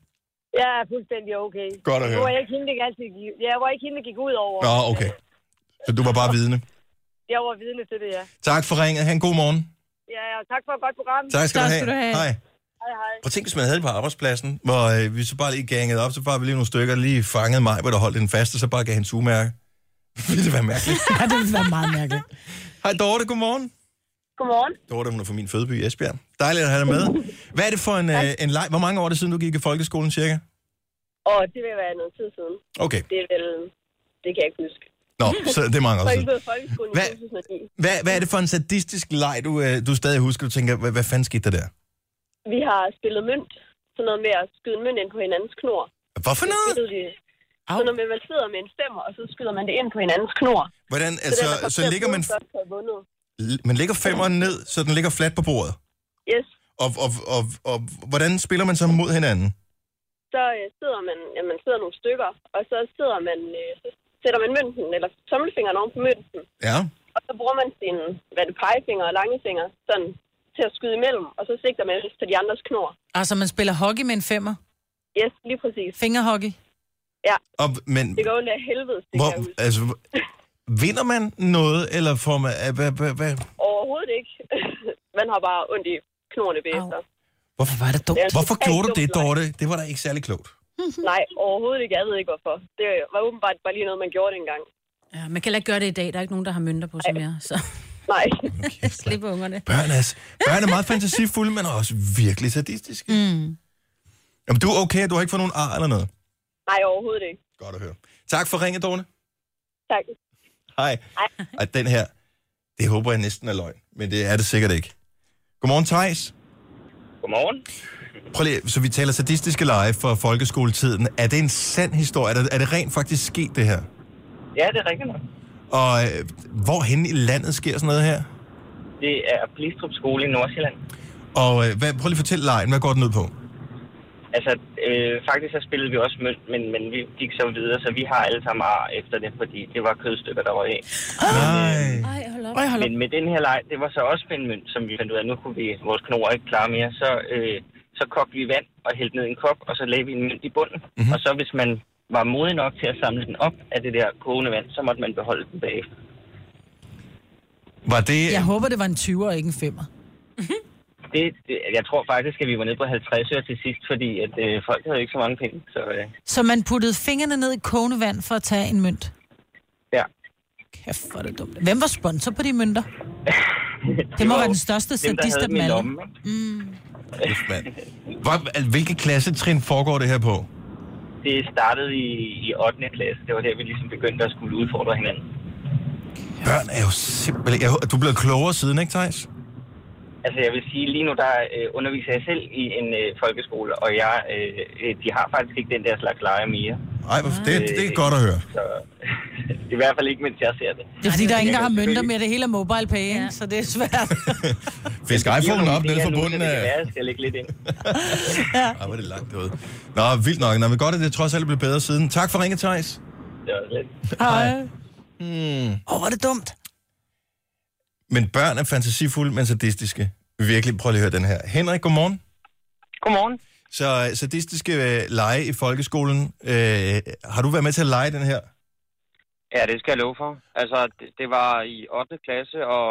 Speaker 7: Jeg er fuldstændig okay.
Speaker 1: Godt at
Speaker 7: Nu var
Speaker 1: høre.
Speaker 7: jeg ikke hende, der altid gik, jeg var ikke hende, der gik ud over.
Speaker 1: Nå, okay. Så du var bare vidne.
Speaker 7: Jeg var vidne til det, ja.
Speaker 1: Tak for ringet. Ha' en god morgen.
Speaker 7: Ja, og tak for et godt program.
Speaker 1: Tak skal,
Speaker 2: Tak
Speaker 1: du, have.
Speaker 2: skal du have.
Speaker 1: Hej.
Speaker 7: Hej, hej.
Speaker 1: Prøv at tænke, hvis man havde det på arbejdspladsen, hvor øh, vi så bare lige gangede op, så bare vi lige nogle stykker, der lige fangede mig, hvor der holdt den fast, og så bare gav hende sugemærke. Ville det være mærkeligt?
Speaker 2: Ja, det ville være meget mærkeligt.
Speaker 1: Hej Dorte, godmorgen.
Speaker 7: Godmorgen.
Speaker 1: Dorte, hun er fra min fødeby i Esbjerg. Dejligt at have dig med. Hvad er det for en, øh, en leg? Hvor mange år er det siden, du gik i folkeskolen cirka?
Speaker 7: Og det vil være noget tid siden.
Speaker 1: Okay,
Speaker 7: Det er vel... Det kan jeg ikke huske.
Speaker 1: nå, så det altså. er mange år
Speaker 7: Så
Speaker 1: siden.
Speaker 7: ikke folkeskolen
Speaker 1: i Hvad?
Speaker 7: 2009.
Speaker 1: Hvad, hvad er det for en sadistisk leg, du, øh, du stadig husker? Du tænker, hvad, hvad fanden skete der der?
Speaker 7: Vi har spillet mønt. Sådan noget med at skyde mønt ind på hinandens knor.
Speaker 1: Hvorfor noget?
Speaker 7: skyder de... Så når man sidder med en femmer, og så skyder man det ind på hinandens knor.
Speaker 1: Hvordan, altså, så ligger man,
Speaker 7: Vundet.
Speaker 1: man ligger femmeren ned, så den ligger fladt på bordet.
Speaker 7: Yes.
Speaker 1: Og, og, og, og hvordan spiller man så mod hinanden?
Speaker 7: Så øh, sidder man, ja, man sidder nogle stykker, og så sidder man, øh, så sætter man mønten, eller tommelfingeren oven på mønten,
Speaker 1: Ja.
Speaker 7: og så bruger man sin, hvad er det, pegefinger og langefinger, sådan, til at skyde imellem, og så sigter man til de andres knor.
Speaker 2: Altså, man spiller hockey med en femmer.
Speaker 7: Yes, lige præcis.
Speaker 2: Fingerhockey.
Speaker 1: Og, men,
Speaker 7: Det går ondt af helvede, det kan
Speaker 1: hvor,
Speaker 7: jeg huske.
Speaker 1: altså, vinder man noget, eller får man... øh, Hvad, hvad, hvad,
Speaker 7: Overhovedet ikke. man har bare ondt i knorene bagefter.
Speaker 1: hvorfor,
Speaker 2: Var det dumt?
Speaker 7: Det er altså en
Speaker 1: hvorfor
Speaker 7: totalt
Speaker 1: gjorde du
Speaker 7: dum
Speaker 1: det,
Speaker 7: leg.
Speaker 1: Dorte? Det var da ikke særlig klogt.
Speaker 7: Nej, overhovedet ikke. Jeg ved ikke, hvorfor. Det var åbenbart bare lige noget, man gjorde dengang.
Speaker 3: Ja, man kan heller ikke gøre det i dag. Der er ikke nogen, der har mønter på sig mere. Så
Speaker 7: Nej.
Speaker 3: slipper ungerne.
Speaker 1: Børn er, børn er meget fantasifulde, men også virkelig sadistiske. Mm. Jamen, du er okay, du har ikke fået nogen ar eller noget.
Speaker 7: Nej, overhovedet ikke.
Speaker 1: Godt at høre. Tak for ringet, Dorte.
Speaker 7: Tak.
Speaker 1: Hej. Og den her, det håber jeg næsten er løgn, men det er det sikkert ikke. Godmorgen, Thijs.
Speaker 8: Godmorgen.
Speaker 1: Prøv lige, så vi taler sadistiske lege fra folkeskoletiden. Er det en sand historie? Er det, er det rent faktisk sket, det her?
Speaker 8: Ja, det er rigtigt nok.
Speaker 1: Og øh, hvorhen i landet sker sådan noget her?
Speaker 8: Det er Blistrup Skole i Nordsjælland.
Speaker 1: Og øh, hvad, prøv lige at fortælle lejen, hvad går den ud på?
Speaker 8: Altså, øh, faktisk så spillede vi også mønt, men, men vi gik så videre, så vi har alle sammen ar efter det, fordi det var kødstykker, der var af.
Speaker 1: Nej.
Speaker 3: Ej, hold op.
Speaker 2: Øj, hold op.
Speaker 8: Men med den her leg, det var så også med en mønt, som vi fandt ud af, nu kunne vi vores knor ikke klare mere. Så, øh, så kogte vi vand og hældte ned i en kop, og så lagde vi en mønt i bunden.
Speaker 2: Mhm.
Speaker 8: Mm-hmm. Og så hvis man var modig nok til at samle den op af det der kogende vand, så måtte man beholde den bagefter.
Speaker 1: Var det...
Speaker 2: Jeg håber, det var en 20'er og ikke en femmer.
Speaker 8: Det, det, jeg tror faktisk, at vi var nede på 50 øre til sidst, fordi at, øh, folk havde ikke så mange penge. Så øh,
Speaker 2: Så man puttede fingrene ned i kogende vand for at tage en mønt?
Speaker 8: ja.
Speaker 2: Kæft, hvor er det dumt. Hvem var sponsor på de mønter? Det må
Speaker 8: var
Speaker 2: være
Speaker 8: jo
Speaker 2: den største
Speaker 8: dem, der
Speaker 2: sadist
Speaker 8: havde
Speaker 2: af dem
Speaker 8: dem i
Speaker 2: alle. Mm.
Speaker 8: lommen, ikke?
Speaker 1: Kæft, mand. Hvor, al- hvilke klassetrin foregår det her på?
Speaker 8: Det startede i, i 8. klasse. Det var der, vi ligesom begyndte at skulle udfordre hinanden.
Speaker 1: Børn er jo simpelthen... Jeg, hå- du er blevet klogere siden, ikke, Thijs?
Speaker 8: Altså jeg vil sige, lige nu der øh, underviser jeg selv i en øh, folkeskole, og jeg, øh, øh, de har faktisk ikke den der slags lege mere.
Speaker 1: Ej, hvor- det, det er godt at høre.
Speaker 8: Så i hvert fald ikke, mens jeg ser det.
Speaker 2: Det er fordi, der er ingen, der har
Speaker 8: Jeg kan
Speaker 2: mønter
Speaker 8: selvfølgelig-
Speaker 2: med det hele er mobile pay, ikke?
Speaker 3: Ja.
Speaker 2: så det er svært.
Speaker 1: Fisk iPhone op nede for bunden
Speaker 8: af... Det kan
Speaker 1: af...
Speaker 8: være, jeg skal lægge lidt ind.
Speaker 1: Ej, hvor er det langt derude. Nå, vildt nok. Nå, men godt, at det trods alt blev bedre siden. Tak for ringet, Thijs.
Speaker 8: Det var lidt.
Speaker 2: Hej. Åh, hvor er det dumt.
Speaker 1: Men børn er fantasifulde, men sadistiske. Virkelig, prøv lige at høre den her. Henrik, godmorgen.
Speaker 6: Godmorgen.
Speaker 1: Så øh, sadistiske øh, lege i folkeskolen. Øh, har du været med til at lege den her?
Speaker 9: Ja, det skal jeg love for. Altså, det, det var i 8. klasse, og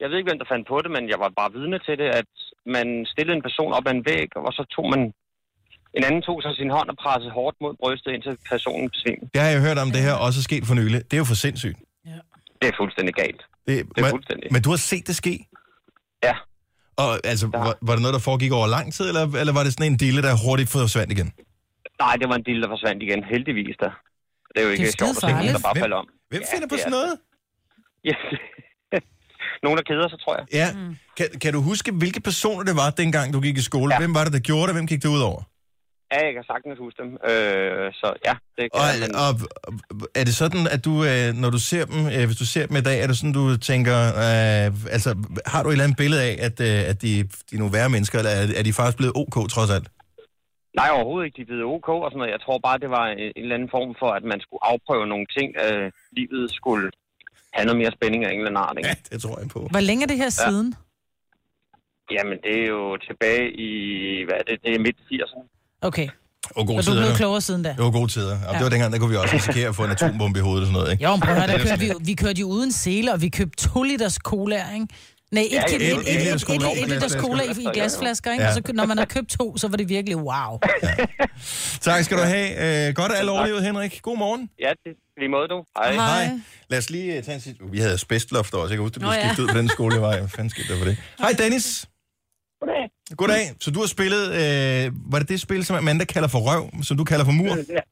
Speaker 9: jeg ved ikke, hvem der fandt på det, men jeg var bare vidne til det, at man stillede en person op ad en væg, og så tog man... En anden tog så sin hånd og pressede hårdt mod brystet, indtil personen besvimede.
Speaker 1: Det har jeg hørt om, det her også er sket for nylig. Det er jo for sindssygt.
Speaker 9: Det er fuldstændig galt.
Speaker 1: Det,
Speaker 9: Det er
Speaker 1: men,
Speaker 9: fuldstændig.
Speaker 1: men du har set det ske?
Speaker 9: Ja.
Speaker 1: Og altså,
Speaker 9: Ja.
Speaker 1: var, var det noget, der foregik over lang tid, eller, eller var det sådan en dille, der hurtigt forsvandt igen?
Speaker 9: Nej, det var en del, der forsvandt igen. Heldigvis da. Det er jo ikke
Speaker 2: Det er
Speaker 9: sjovt at se, nogen,
Speaker 2: skidefarligt.
Speaker 9: der bare falder om.
Speaker 1: Hvem
Speaker 9: Ja,
Speaker 1: ja, finder på
Speaker 9: det er
Speaker 1: sådan noget?
Speaker 9: Ja. Nogen, der keder sig, tror jeg.
Speaker 1: Ja. Mm. Kan, kan du huske, hvilke personer det var, dengang du gik i skole? Ja.
Speaker 9: Ja.
Speaker 1: Hvem var det, der gjorde det? Hvem gik det ud over?
Speaker 9: Ja, jeg kan sagtens huske dem. Øh, så ja, det kan
Speaker 1: Og,
Speaker 9: jeg, men-
Speaker 1: og, og er det sådan, at du, øh, når du ser dem, øh, hvis du ser dem i dag, er det sådan, du tænker, øh, altså, har du et eller andet billede af, at, øh, at de, de er nogle værre mennesker, eller er, er de faktisk blevet ok, trods alt?
Speaker 9: Nej, overhovedet ikke. De er blevet OK og sådan noget. Jeg tror bare, det var øh, en en eller anden form for, at man skulle afprøve nogle ting. Øh, livet skulle have noget mere spænding af en eller anden art, ikke?
Speaker 1: Ja, det tror jeg på.
Speaker 2: Hvor længe er det her siden?
Speaker 9: Jamen, det er jo tilbage i, hvad er det, det er midt 80'erne.
Speaker 2: Okay,
Speaker 1: Og
Speaker 2: og
Speaker 1: gode
Speaker 2: du er
Speaker 1: tider.
Speaker 2: blevet
Speaker 1: jo.
Speaker 2: klogere siden da.
Speaker 1: Det var gode tider. Ja. Det var dengang, der kunne vi også risikere at få en atombombe i hovedet og sådan noget, ikke?
Speaker 2: Jo, men prøv at høre, der kørte vi, jo- vi kørte jo uden sele, og vi købte 2 liters cola, ikke? Nej, et, ja, et,
Speaker 9: ja,
Speaker 2: et,
Speaker 9: ja,
Speaker 2: et, et,
Speaker 1: ja,
Speaker 2: et,
Speaker 1: cola i
Speaker 2: et liters
Speaker 1: glasflasker.
Speaker 2: cola i, i glasflasker, ikke?
Speaker 1: Ja.
Speaker 2: Og så, når man har købt to, så var det virkelig wow.
Speaker 1: Tak skal du have. Øh, godt at alle overlevet, Henrik. God morgen.
Speaker 9: Ja, det lige måde, du. Hej.
Speaker 2: Hej.
Speaker 1: Lad os lige øh, tage en sidste... Vi havde asbestloft også. Jeg kan huske, det blev
Speaker 3: Nå ja.
Speaker 1: skiftet ud på den skole, jeg var i. Hvad fanden skete der for det? Hej, Dennis.
Speaker 6: Goddag.
Speaker 1: Goddag. Så du har spillet... Øh, var det det spil, som Amanda kalder for røv, som du kalder for mur?
Speaker 6: Ja,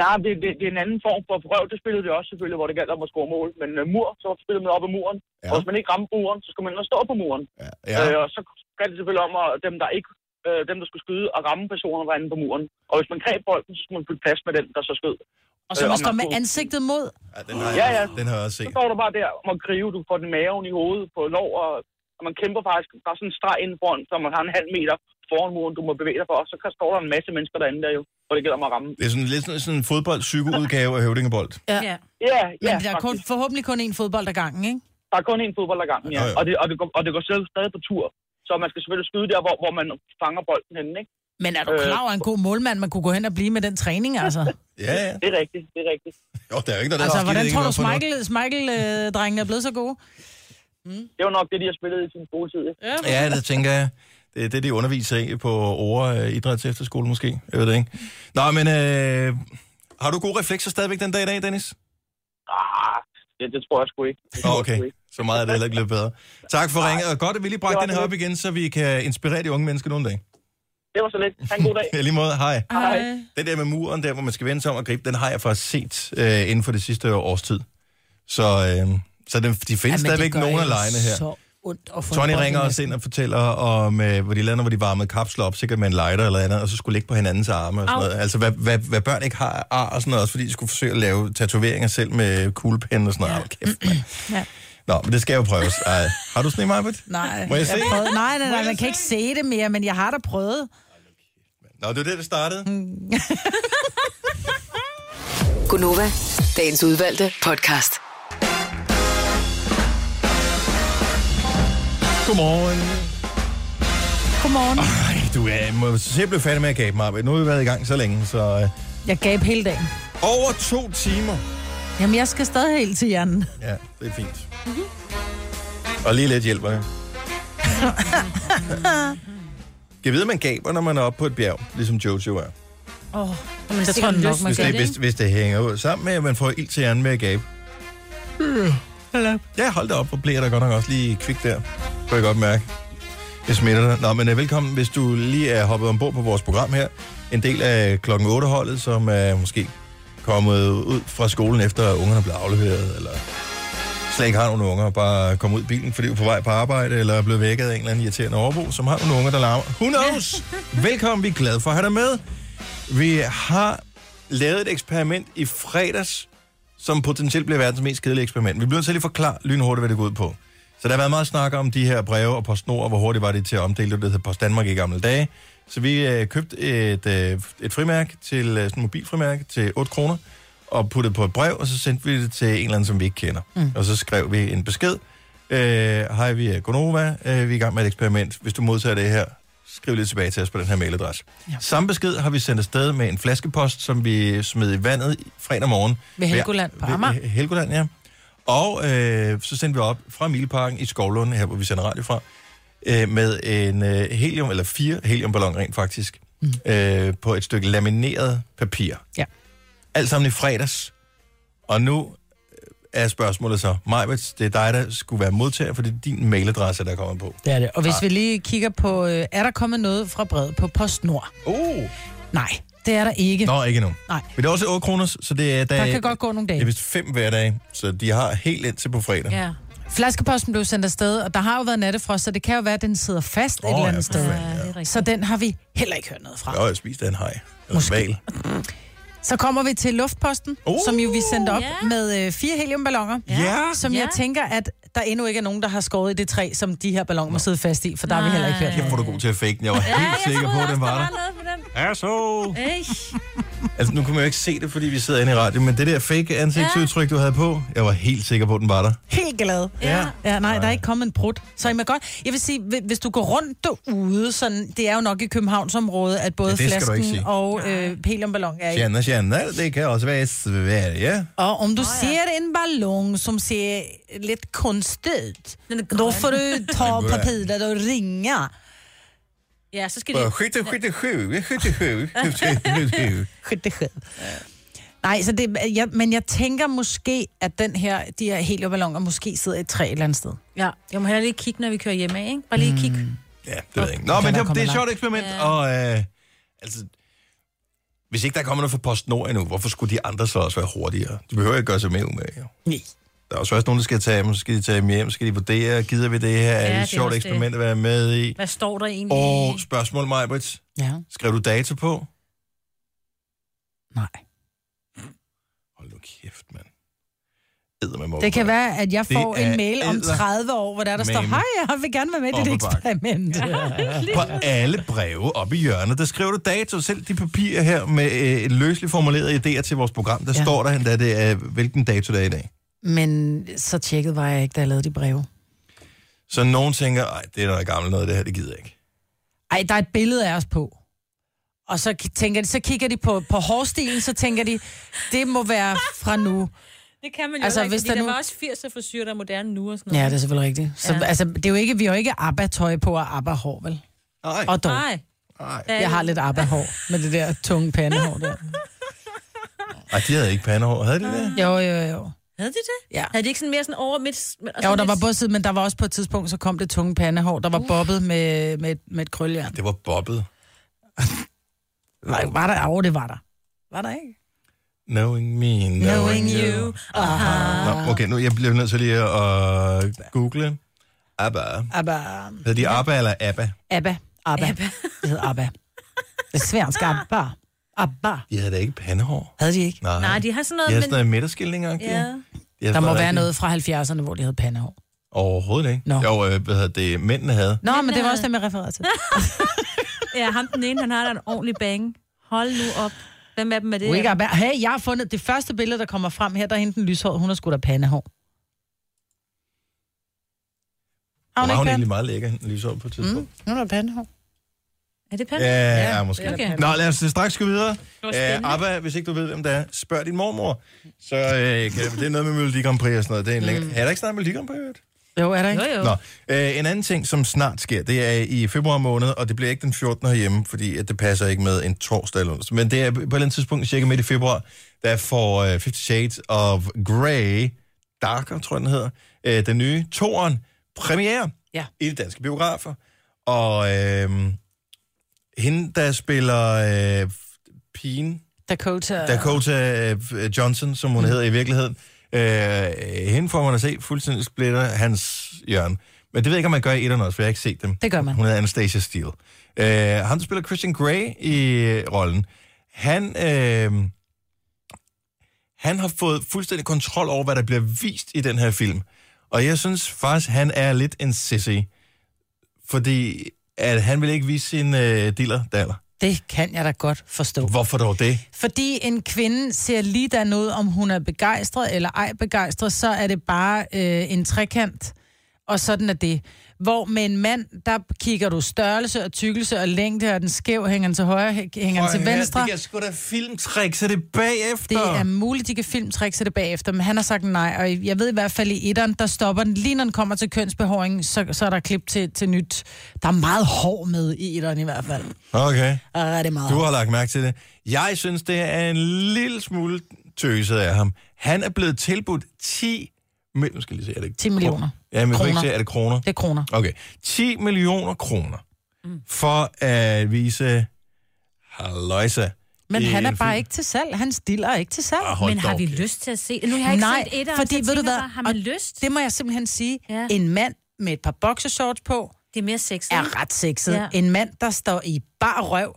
Speaker 6: ja det, det, det, er en anden form for prøv. Det spillede vi også selvfølgelig, hvor det galt om at score mål. Men uh, mur, så spillede man op ad muren.
Speaker 1: Ja.
Speaker 6: Ja. Og hvis man ikke ramte muren, så skulle man ind og stå på muren. Ja.
Speaker 1: Ja.
Speaker 6: Øh, og så galt det selvfølgelig om, at dem, der ikke øh, dem, der skulle skyde og ramme personer, var inde på muren. Og hvis man greb bolden, så skulle man bytte plads med den, der så skød. Øh,
Speaker 2: Og
Speaker 1: Øh,
Speaker 2: så man står med ansigtet mod.
Speaker 1: ja, den har,
Speaker 6: Ja, ja.
Speaker 1: jeg, den har jeg også
Speaker 6: Så
Speaker 1: set.
Speaker 6: står du bare der om at gribe, du får den i maven i hovedet på lov, og, og man kæmper faktisk. Der er sådan en streg inden foran, så man har en halv meter foran muren, du må bevæge dig for, og så kan- står der en masse mennesker derinde der jo, hvor det gælder om at ramme.
Speaker 1: Det er sådan lidt sådan, sådan en fodbold-psykoudgave af høvdingebold.
Speaker 3: Ja.
Speaker 6: Ja, ja,
Speaker 2: Men der er kun,
Speaker 6: faktisk.
Speaker 2: forhåbentlig kun én fodbold ad gangen, ikke?
Speaker 6: der er kun én fodbold ad gangen, ja.
Speaker 1: Nå, ja.
Speaker 6: Og det, og, det går, og det går selv stadig på tur. Så man skal selvfølgelig skyde der, hvor, hvor man fanger bolden henne, ikke? Øh,
Speaker 2: Men er du
Speaker 1: Øh,
Speaker 2: klar over en god målmand, man kunne gå hen og blive med den træning, altså?
Speaker 1: Ja, ja.
Speaker 6: Det er rigtigt, det er rigtigt.
Speaker 1: Jo, der er jo ikke noget, der
Speaker 2: Altså,
Speaker 1: er skidt,
Speaker 2: hvordan
Speaker 1: ikke
Speaker 2: tror du,
Speaker 1: noget på noget.
Speaker 2: Michael, Michael øh, drengen er blevet så god?
Speaker 6: Det var nok det, de har spillet i sin skoletid. ikke?
Speaker 1: Ja, det tænker jeg. Det er det, de underviser i på Ore øh, Idræts Efterskole måske. Jeg ved det ikke. Nå, men øh, har du gode reflekser stadigvæk den dag i dag, Dennis?
Speaker 6: Ah, det, det tror jeg sgu ikke. Det tror
Speaker 1: Nå,
Speaker 6: jeg
Speaker 1: okay.
Speaker 6: sgu ikke.
Speaker 1: Så meget er det heller ikke blevet bedre. Tak for ringet, og godt, at vi lige bragte den her op igen, så vi kan inspirere de unge mennesker nogle dage.
Speaker 6: Det var så lidt. Ha' en god dag.
Speaker 1: Ja, lige måde. Hej.
Speaker 6: Hej.
Speaker 1: Den der med muren, der hvor man skal vende sig om og gribe, den har jeg faktisk set øh, inden for det sidste års tid. Så, øh, så den, de findes ja, stadigvæk nogen af lejene her.
Speaker 2: Så ondt at få
Speaker 1: Tony
Speaker 2: en bold i
Speaker 1: ringer også ind og fortæller om, øh, hvor de lander, hvor de varmede kapsler op, sikkert med en lighter eller andet, og så skulle ligge på hinandens arme og sådan noget. Altså, hvad, hvad, hvad børn ikke har af ar og sådan noget, også fordi de skulle forsøge at lave tatoveringer selv med kuglepenne og sådan noget. Ja. Kæft, mand.
Speaker 2: Ja.
Speaker 1: Nå, men det skal jo prøves. Ej, har du sådan en, Marbet?
Speaker 2: Nej,
Speaker 1: Må jeg se?
Speaker 2: prøvede, nej, nej, nej, man kan ikke se det mere, men jeg har da prøvet.
Speaker 1: Nå, det var det, det startede.
Speaker 4: Gunova, dagens udvalgte podcast.
Speaker 1: Godmorgen.
Speaker 2: Godmorgen.
Speaker 1: Ej, du er, må simpelthen fandme med at gabe, Marbet. Nu har vi været i gang så længe, så... Øh,
Speaker 2: Jeg gab hele dagen.
Speaker 1: over to timer.
Speaker 2: Jamen, jeg skal stadig helt til hjernen.
Speaker 1: Ja, det er fint. Og lige lidt hjælper jeg. Jeg ved, man gaber, når man er oppe på et bjerg, ligesom Jojo er.
Speaker 2: Åh, oh, men
Speaker 3: så tror
Speaker 2: det tror
Speaker 3: jeg nok,
Speaker 2: jeg nok, man
Speaker 1: Hvis
Speaker 2: gør
Speaker 1: det,
Speaker 2: det.
Speaker 1: hvis, hvis det hænger ud sammen med, at man får ild til hjernen med at gabe. Hallo. Ja, hold da op, hvor bliver der godt nok også lige kvik der. Kunne jeg godt mærke. Jeg smitter dig. Nå, men øh, velkommen, hvis du lige er hoppet ombord på vores program her. En del af klokken 8-holdet, som er måske kommet ud fra skolen efter at ungerne blev afleveret, eller slet ikke har nogen unger, og bare kommer ud i bilen, fordi du er på vej på arbejde, eller er blevet vækket af en eller anden irriterende overbo, som har nogle unger, der larmer. Who knows? Velkommen, vi er glade for at have dig med. Vi har lavet et eksperiment i fredags, som potentielt bliver verdens mest kedelige eksperiment. Vi bliver nødt til at lige forklare lynhurtigt, hvad det går ud på. Så der har været meget snak om de her breve og postnord, og hvor hurtigt var det til at omdele det, der hedder Post Danmark i gamle dage. Så vi øh, købte et, øh, et frimærke til, øh, sådan en mobilfrimærke til 8 kroner, og puttede på et brev, og så sendte vi det til en eller anden, som vi ikke kender. Mm. Og så skrev vi en besked. Øh, Hej, vi er Gonova. Øh, vi er i gang med et eksperiment. Hvis du modtager det her, skriv lidt tilbage til os på den her mailadresse. Ja. Samme besked har vi sendt afsted med en flaskepost, som vi smed i vandet i fredag morgen.
Speaker 2: Ved Helgoland på
Speaker 1: Ved-
Speaker 2: Amager.
Speaker 1: ved Helgoland, ja. Og øh, så sendte vi op fra Mileparken i Skovlund, her hvor vi sender radio fra, øh, med en øh, helium, eller fire heliumballon rent faktisk, mm. øh, på et stykke lamineret papir.
Speaker 2: Ja.
Speaker 1: Alt sammen i fredags. Og nu øh, er spørgsmålet så, Majbets, det er dig, der skulle være modtager, for det er din mailadresse, der kommer på.
Speaker 2: Det er det. Og
Speaker 1: Ah.
Speaker 2: hvis vi lige kigger på, øh, er der kommet noget fra brevet på PostNord?
Speaker 1: Uh.
Speaker 2: Nej, det er der ikke.
Speaker 1: Nå, ikke endnu.
Speaker 2: Nej.
Speaker 1: Men det er også 8 kroner, så det er...
Speaker 2: Der kan godt gå nogle
Speaker 1: Det er
Speaker 2: dage.
Speaker 1: vist fem hverdage, så de har helt indtil på fredag.
Speaker 3: Ja.
Speaker 2: Flaskeposten blev sendt afsted, og der har jo været nattefrost, så det kan jo være, at den sidder fast oh, et
Speaker 1: Åh,
Speaker 2: eller
Speaker 1: ja,
Speaker 2: andet
Speaker 1: for
Speaker 2: sted.
Speaker 1: fanden, ja.
Speaker 3: rigtigt.
Speaker 2: Så den har vi heller ikke hørt noget fra.
Speaker 1: Jo, jeg spiste en haj. Eller
Speaker 2: Måske.
Speaker 1: val.
Speaker 2: Så kommer vi til luftposten,
Speaker 1: Uh,
Speaker 2: uh, som jo vi sendte op
Speaker 3: ja.
Speaker 2: yeah. med øh, fire heliumballoner.
Speaker 1: Ja.
Speaker 2: Som
Speaker 3: Ja.
Speaker 2: jeg tænker, at der endnu ikke er nogen, der har skåret i det træ, som de her balloner må sidde fast i, for der har vi heller ikke hørt
Speaker 1: Jeg
Speaker 2: noget.
Speaker 1: får du god til at fake den. Jeg var helt sikker på, at den var der.
Speaker 3: noget på den.
Speaker 1: Asshole!
Speaker 3: Ej.
Speaker 1: Altså, nu kunne man jo ikke se det, fordi vi sidder inde i radio, men det der fake ansigtsudtryk, du havde på, jeg var helt sikker på, at den var der.
Speaker 2: Helt glad.
Speaker 1: Ja.
Speaker 2: Ja, nej, der er ikke kommet en brud. Så I må godt... Jeg vil sige, hvi- hvis du går rundt derude, sådan, det er jo nok i Københavnsområdet, at både
Speaker 1: Ja, det
Speaker 2: ja,
Speaker 1: skal du ikke
Speaker 2: flasken
Speaker 1: sige.
Speaker 2: og øh, heliumballon er i.
Speaker 1: Tjena, tjena, det kan også være i Sverige.
Speaker 2: Og om du ser en ballong, som ser lidt konstig ud,
Speaker 3: Den er
Speaker 2: då
Speaker 3: grøn.
Speaker 2: får du ta papiret og ringa.
Speaker 3: Ja, så skal de...
Speaker 1: Bare 77, 77, 77.
Speaker 2: 77. Nej, så det, jeg, men jeg tænker måske, at den her, de her helioballoner måske sidder i et træ et eller andet sted.
Speaker 3: Ja, jeg må heller lige kigge, når vi kører hjemme af, ikke? Bare
Speaker 2: Mm.
Speaker 3: lige kigge.
Speaker 1: Ja, det ved jeg ikke. Nå,
Speaker 2: Kan
Speaker 1: men det,
Speaker 2: der
Speaker 1: det er
Speaker 2: komme
Speaker 1: et sjovt
Speaker 2: langt?
Speaker 1: eksperiment, og øh, altså, hvis ikke der kommer noget fra PostNord endnu, hvorfor skulle de andre så også være hurtigere? De behøver ikke gøre sig mere umage, jo.
Speaker 2: Nej.
Speaker 1: Der er også også nogen, der skal tage dem, så skal de tage dem hjem, så skal de vurdere, gider vi det her,
Speaker 3: det
Speaker 1: er
Speaker 3: er
Speaker 1: det et sjovt
Speaker 3: også
Speaker 1: eksperiment at være med i?
Speaker 3: Hvad står der egentlig?
Speaker 1: Og spørgsmål, Majbrits,
Speaker 2: Ja,
Speaker 1: skrev du dato på?
Speaker 2: nej.
Speaker 1: Hold nu kæft, mand. Eddermame
Speaker 2: Det kan være, at jeg
Speaker 1: Det
Speaker 2: får
Speaker 1: er
Speaker 2: en mail om
Speaker 1: edder-
Speaker 2: 30 år, hvor der, der står,
Speaker 1: mame.
Speaker 2: hej, jeg vil gerne være med i
Speaker 1: Op
Speaker 2: dit
Speaker 1: ad bakke.
Speaker 2: eksperiment. Ja.
Speaker 1: På alle breve oppe i hjørnet, der skriver du dato, selv de papirer her med øh, løsligt formulerede idéer til vores program, der ja.
Speaker 2: Ja.
Speaker 1: står der, da det er, hvilken dato det er i dag.
Speaker 2: Men så tjekket var jeg ikke, da jeg lavede de breve.
Speaker 1: Så nogen tænker, nej, det er noget gammelt noget, det her, det gider jeg ikke.
Speaker 2: Ej, der er et billede af os på. Og så, k- tænker de, så kigger de på, på hårstilen, så tænker de, det må være fra nu.
Speaker 3: Det kan man jo
Speaker 2: Altså,
Speaker 3: altså, ikke,
Speaker 2: hvis
Speaker 3: fordi
Speaker 2: der
Speaker 3: der, nu...
Speaker 2: nu-
Speaker 3: var også 80'er frisyrer, der er moderne nu og sådan
Speaker 2: Ja,
Speaker 3: noget.
Speaker 2: det er selvfølgelig rigtigt. Så, ja.
Speaker 3: Ja.
Speaker 2: altså, det er jo ikke, vi har jo ikke ABBA-tøj på og ABBA-hår, vel?
Speaker 1: Nej,
Speaker 2: Og dog.
Speaker 3: Nej.
Speaker 1: nej.
Speaker 3: Der er
Speaker 2: Jeg har
Speaker 3: jo-
Speaker 2: lidt ABBA-hår med det der tunge pandehår der.
Speaker 1: Ej, de havde ikke pandehår. Havde de det?
Speaker 2: Jo, jo, jo.
Speaker 3: Havde de det?
Speaker 2: Ja.
Speaker 3: Havde de ikke sådan mere sådan over midt... men- og
Speaker 2: Jo,
Speaker 3: sådan
Speaker 2: der var
Speaker 3: lidt-
Speaker 2: både siden, men der var også på et tidspunkt, så kom det tunge pandehår, der var bobbet med, med, et- med et krøljern.
Speaker 1: Det var bobbet.
Speaker 2: Var, var der? Jo, det var der. Var der ikke?
Speaker 1: Knowing me, knowing,
Speaker 2: Knowing
Speaker 1: you.
Speaker 2: you. Aha.
Speaker 1: Nå, okay, nu jeg bliver nødt til lige at øh, google ABBA.
Speaker 2: ABBA.
Speaker 1: Hedder de ABBA eller ABBA?
Speaker 2: ABBA. ABBA. Det hedder ABBA. Det er svensk ABBA. ABBA.
Speaker 1: De havde da ikke pandehår.
Speaker 2: Havde de ikke?
Speaker 1: Nej,
Speaker 3: Nej, de har sådan
Speaker 1: de
Speaker 3: noget...
Speaker 1: havde
Speaker 3: Men...
Speaker 1: sådan noget midterskilning
Speaker 3: Ja.
Speaker 2: Der må være noget fra 70'erne, hvor de havde pandehår.
Speaker 1: Overhovedet ikke.
Speaker 2: Nå.
Speaker 1: Jo, øh, hvad hedder det, mændene havde.
Speaker 2: Nå, men det var også dem, jeg refererede til.
Speaker 3: ja, ham den ene, han har da en ordentlig bang. Hold nu op. Hvem af dem er det?
Speaker 2: Wake up. Hey, jeg har fundet det første billede, der kommer frem her, der er hende den lyshårede, hun har sgu da pandehår. Har hun,
Speaker 1: Var hun
Speaker 2: ikke Mm.
Speaker 1: egentlig meget lækker, hende lyser op på et
Speaker 3: Mm.
Speaker 1: tidspunkt?
Speaker 2: pande? Hun har pandehår.
Speaker 3: Er det Pelle?
Speaker 1: Ja, ja, måske.
Speaker 3: Okay.
Speaker 1: Nå, lad os øh, straks gå videre.
Speaker 3: var
Speaker 1: Æ,
Speaker 3: spændende.
Speaker 1: Abba, hvis ikke du ved, hvem det er, spørg din mormor. Så øh, kan, det er noget med Melodi Grand Prix og sådan noget. Det er, en længere... er der ikke snart Melodi Grand Prix? i øvrigt?
Speaker 2: Jo, er der
Speaker 3: Jo,
Speaker 2: ikke?
Speaker 3: jo.
Speaker 1: Nå, øh, en anden ting, som snart sker, det er i februar måned, og det bliver ikke den 14. herhjemme, fordi at det passer ikke med en torsdag eller noget. Men det er på et eller andet tidspunkt, cirka midt i februar, der får øh, Fifty Shades of Grey Darker, tror jeg, den hedder. Øh, den nye Toren premiere
Speaker 2: ja.
Speaker 1: i de danske biografer. Og øh, hende, der spiller øh, pigen,
Speaker 2: Dakota. Mm.
Speaker 1: Dakota øh, Johnson, som hun hedder i virkeligheden. Øh, hende får man at se fuldstændig splitter hans hjørne. Men det ved jeg ikke, om man gør i etterne også, for jeg har ikke set dem.
Speaker 2: Det gør man.
Speaker 1: Hun hedder Anastasia Steele. Øh, han, der spiller Christian Grey i øh, rollen, han, øh, han har fået fuldstændig kontrol over, hvad der bliver vist i den her film. Og jeg synes faktisk, han er lidt en sissy. Fordi at han vil ikke vise sin øh, diller daller.
Speaker 2: Det kan jeg da godt forstå.
Speaker 1: Hvorfor dog det?
Speaker 2: Fordi en kvinde ser lige der noget, om hun er begejstret eller ej begejstret, så er det bare øh, en trekant, og sådan er det. Hvor med en mand, der kigger du størrelse og tykkelse og længde, og den skæv hænger den til højre, hæ- hænger den til
Speaker 1: Prøv at høre,
Speaker 2: venstre.
Speaker 1: Det kan sgu da filmtræk, så det bagefter.
Speaker 2: Det er muligt, de kan filmtrickse det bagefter, men han har sagt nej, og jeg ved i hvert fald i etteren, der stopper den. Lige når den kommer til kønsbehåring, så, så er der klip til, til nyt. Der er meget hår med i etteren i hvert fald.
Speaker 1: Okay,
Speaker 2: Og rigtig meget
Speaker 1: du
Speaker 2: hår.
Speaker 1: har lagt mærke til det. Jeg synes, det er en lille smule tøset af ham. Han er blevet tilbudt 10... mil- Nu skal jeg lige se, er det
Speaker 2: 10 millioner.
Speaker 1: Ja, men jeg kan ikke
Speaker 2: Kroner.
Speaker 1: se, er det kroner?
Speaker 2: Det er kroner. Mm.
Speaker 1: Okay, 10 millioner kroner for at vise Halløjsa.
Speaker 2: Men
Speaker 1: i
Speaker 2: han er
Speaker 1: en
Speaker 2: bare
Speaker 1: film.
Speaker 2: ikke til salg. Han stiller ikke til salg.
Speaker 1: Ah, hold
Speaker 3: Men har
Speaker 1: dog
Speaker 3: vi
Speaker 1: kæft.
Speaker 3: lyst til at se? Nu har jeg ikke
Speaker 2: Nej,
Speaker 3: set etteren,
Speaker 2: fordi
Speaker 3: så jeg
Speaker 2: ved du
Speaker 3: tænker
Speaker 2: hvad,
Speaker 3: bare, har man lyst? Det,
Speaker 2: Det må jeg simpelthen sige. Ja.
Speaker 3: Ja.
Speaker 2: En mand med et par boxershorts på
Speaker 3: det er mere sexet. ikke?
Speaker 2: er ret sexet. Ja.
Speaker 3: Ja.
Speaker 2: En mand, der står i bar røv,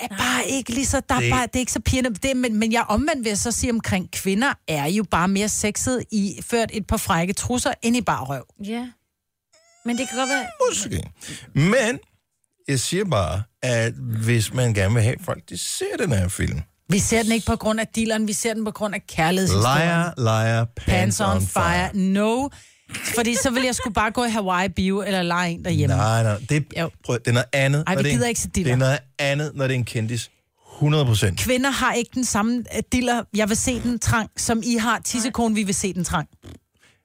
Speaker 2: er bare ikke lige så, der det... Er
Speaker 1: Det-
Speaker 2: bare, det er ikke så pigerne. Det, men, men jeg omvendt vil jeg så sige omkring kvinder, er jo bare mere sexet i ført et par frække trusser end i bar røv.
Speaker 3: Ja. Men det kan godt være...
Speaker 1: Måske. Men jeg siger bare, at hvis man gerne vil have folk, de ser den her film,
Speaker 2: Vi ser den ikke på grund af dealeren, vi ser den på grund af kærlighedshistorien.
Speaker 1: Liar, liar, pants,
Speaker 2: Pants on fire. No. Fordi så vil jeg skulle bare gå i Hawaii Bio eller lege en derhjemme.
Speaker 1: Nej, nej, det,
Speaker 2: Jo.
Speaker 1: prøv, det er noget andet.
Speaker 2: Ej,
Speaker 1: når
Speaker 2: vi
Speaker 1: det er en-
Speaker 2: gider ikke se
Speaker 1: Det er
Speaker 2: diller.
Speaker 1: noget andet, når det er en kendis. 100 procent.
Speaker 2: kvinder har ikke den samme øh, diller, jeg vil se den trang, som I har tissekone, vi vil se den trang.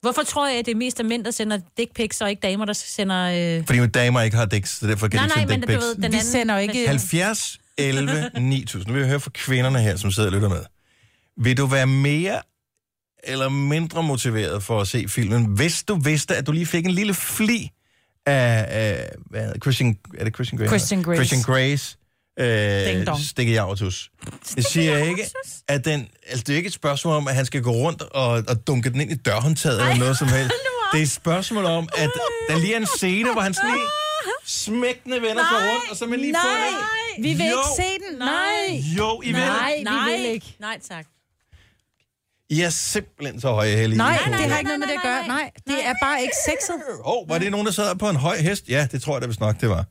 Speaker 3: Hvorfor tror jeg, at det er mest af mænd, der sender dick pics, og ikke damer, der sender... Øh...
Speaker 1: Fordi jo damer ikke har dæks, så derfor kan
Speaker 3: Nej,
Speaker 1: de
Speaker 3: nej,
Speaker 1: ikke
Speaker 3: men
Speaker 1: sende
Speaker 3: du ved,
Speaker 1: dækpiks.
Speaker 3: den
Speaker 2: Vi
Speaker 3: anden...
Speaker 2: sender jo ikke-
Speaker 1: 70, 11, 9000. Nu vil jeg høre fra kvinderne her, som sidder og lytter med. Vil du være mere eller mindre motiveret for at se filmen, hvis du vidste, at du lige fik en lille fli af, af hvad hedder, Christian, er det Christian Grace?
Speaker 2: Christian Grace.
Speaker 1: Christian Grace.
Speaker 2: Ding
Speaker 1: Øh,
Speaker 2: dong.
Speaker 1: stikke i autos. Jeg siger ikke, at den, altså det er ikke et spørgsmål om, at han skal gå rundt og, og dunke den ind i dørhåndtaget eller noget som helst. Det er et spørgsmål om, at der lige er en scene, hvor han sådan lige smækkende vender sig rundt, og så er man lige
Speaker 2: nej,
Speaker 1: fået den.
Speaker 2: vi vil
Speaker 1: Jo.
Speaker 2: ikke se den. Nej.
Speaker 1: Jo, I vil.
Speaker 2: Nej. vi
Speaker 3: nej,
Speaker 2: vil ikke.
Speaker 3: Nej, tak.
Speaker 1: I er simpelthen så høje heldige.
Speaker 2: Nej,
Speaker 1: I to.
Speaker 2: det har ikke noget med det at gøre. Nej, det er bare ikke sexet.
Speaker 1: Åh, oh, var det nogen, der sad på en høj hest? Ja, det tror jeg da vist nok, det var.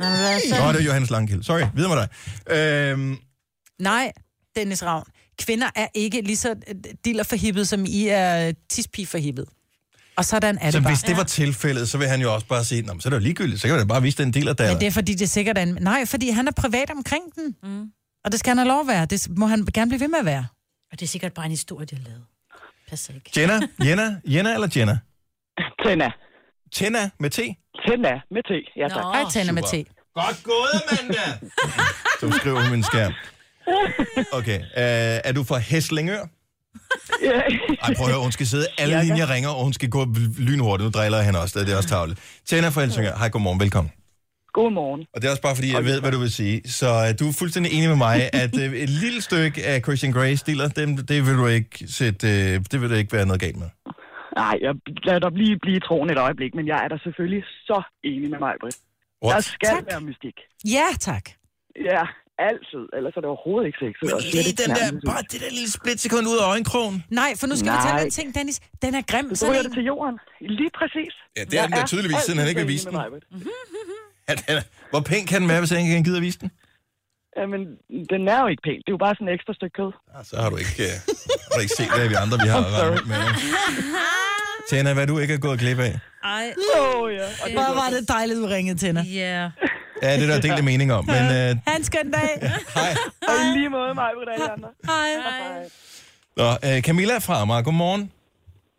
Speaker 3: Altså,
Speaker 1: Nå, det var Johannes Langkild. Sorry, videre med dig. Øhm,
Speaker 2: Nej, Dennis Ravn. Kvinder er ikke lige så øh, diller forhippet, som I er øh, tispige forhippet. Og sådan er
Speaker 1: så
Speaker 2: det bare.
Speaker 1: hvis det var tilfældet, så vil han jo også bare sige, Nå, men så er det jo ligegyldigt, så kan jeg da bare vise den del af
Speaker 2: Men det
Speaker 1: det.
Speaker 2: er fordi, det er sikkert er en... Nej, fordi han er privat omkring den. Mm. Og det skal han have lov at være. Det må han gerne blive ved med at være.
Speaker 3: og det er sikkert bare en historie, de har lavet. Pas ikke.
Speaker 1: Jenna, Jenna, Jenna eller Jenna?
Speaker 10: Tænder.
Speaker 1: Jenna med T.
Speaker 10: Tænder med te. Ja, tak.
Speaker 2: Hej, Tanna med te.
Speaker 1: Godt gået, Amanda! Som skriver hun min skærm. Okay, øh, er du fra Hæslingør?
Speaker 10: Ja.
Speaker 1: Ej, prøv at høre, hun skal sidde alle linjer ringer, og hun skal gå lynhurtigt. Nu driller jeg hende også, det er også tavlet. Tjena fra Helsingør. Hej, godmorgen, velkommen.
Speaker 10: Godmorgen.
Speaker 1: Og det er også bare, fordi jeg ved, hvad du vil sige. Så øh, du er fuldstændig enig med mig, at øh, et lille stykke af Christian Grey stiller, dem, det vil du ikke sætte, øh, det vil du ikke være noget galt med.
Speaker 10: Nej, jeg lader dig lige blive troende et øjeblik, men jeg er da selvfølgelig så enig med mig, Britt. Der
Speaker 1: What?
Speaker 10: skal
Speaker 2: Tak.
Speaker 10: tak. være mystik.
Speaker 2: Ja, tak.
Speaker 10: Ja, altid. Ellers er det overhovedet ikke sexet. og slet
Speaker 1: Lige
Speaker 10: ikke
Speaker 1: den der,
Speaker 10: nærmest.
Speaker 1: bare det der lille splitsekund ud af øjenkrogen.
Speaker 2: Nej, for nu skal Nej. vi
Speaker 10: Nej.
Speaker 2: tage den ting, Dennis. Den er grim.
Speaker 10: Så
Speaker 2: Sådan
Speaker 10: ryger
Speaker 2: en.
Speaker 10: det til jorden. Lige præcis.
Speaker 1: Ja, det er den der tydeligvis, siden han ikke vil vise den.
Speaker 10: den.
Speaker 1: Ja, den er- Hvor pæn kan den være, hvis ikke han gider vise den?
Speaker 10: Jamen, den er jo ikke pæn. Det er jo bare sådan et ekstra stykke kød.
Speaker 1: Ah, Så har du ikke, øh, har du ikke set, hvad vi andre vi har at rende rundt med. Tjena, hvad du ikke er gået glip af?
Speaker 3: Ej,
Speaker 10: Åh, oh, ja. Og det,
Speaker 2: Hvor var det dejligt, du ringede til hende.
Speaker 3: ja.
Speaker 1: Ja, det er der delte mening om, men øh,
Speaker 2: Ha' en skøn dag.
Speaker 1: hej.
Speaker 10: og i lige måde mig, Britt og alle andre.
Speaker 3: Hej.
Speaker 1: Nå, øh, Camilla er fra Amager, godmorgen.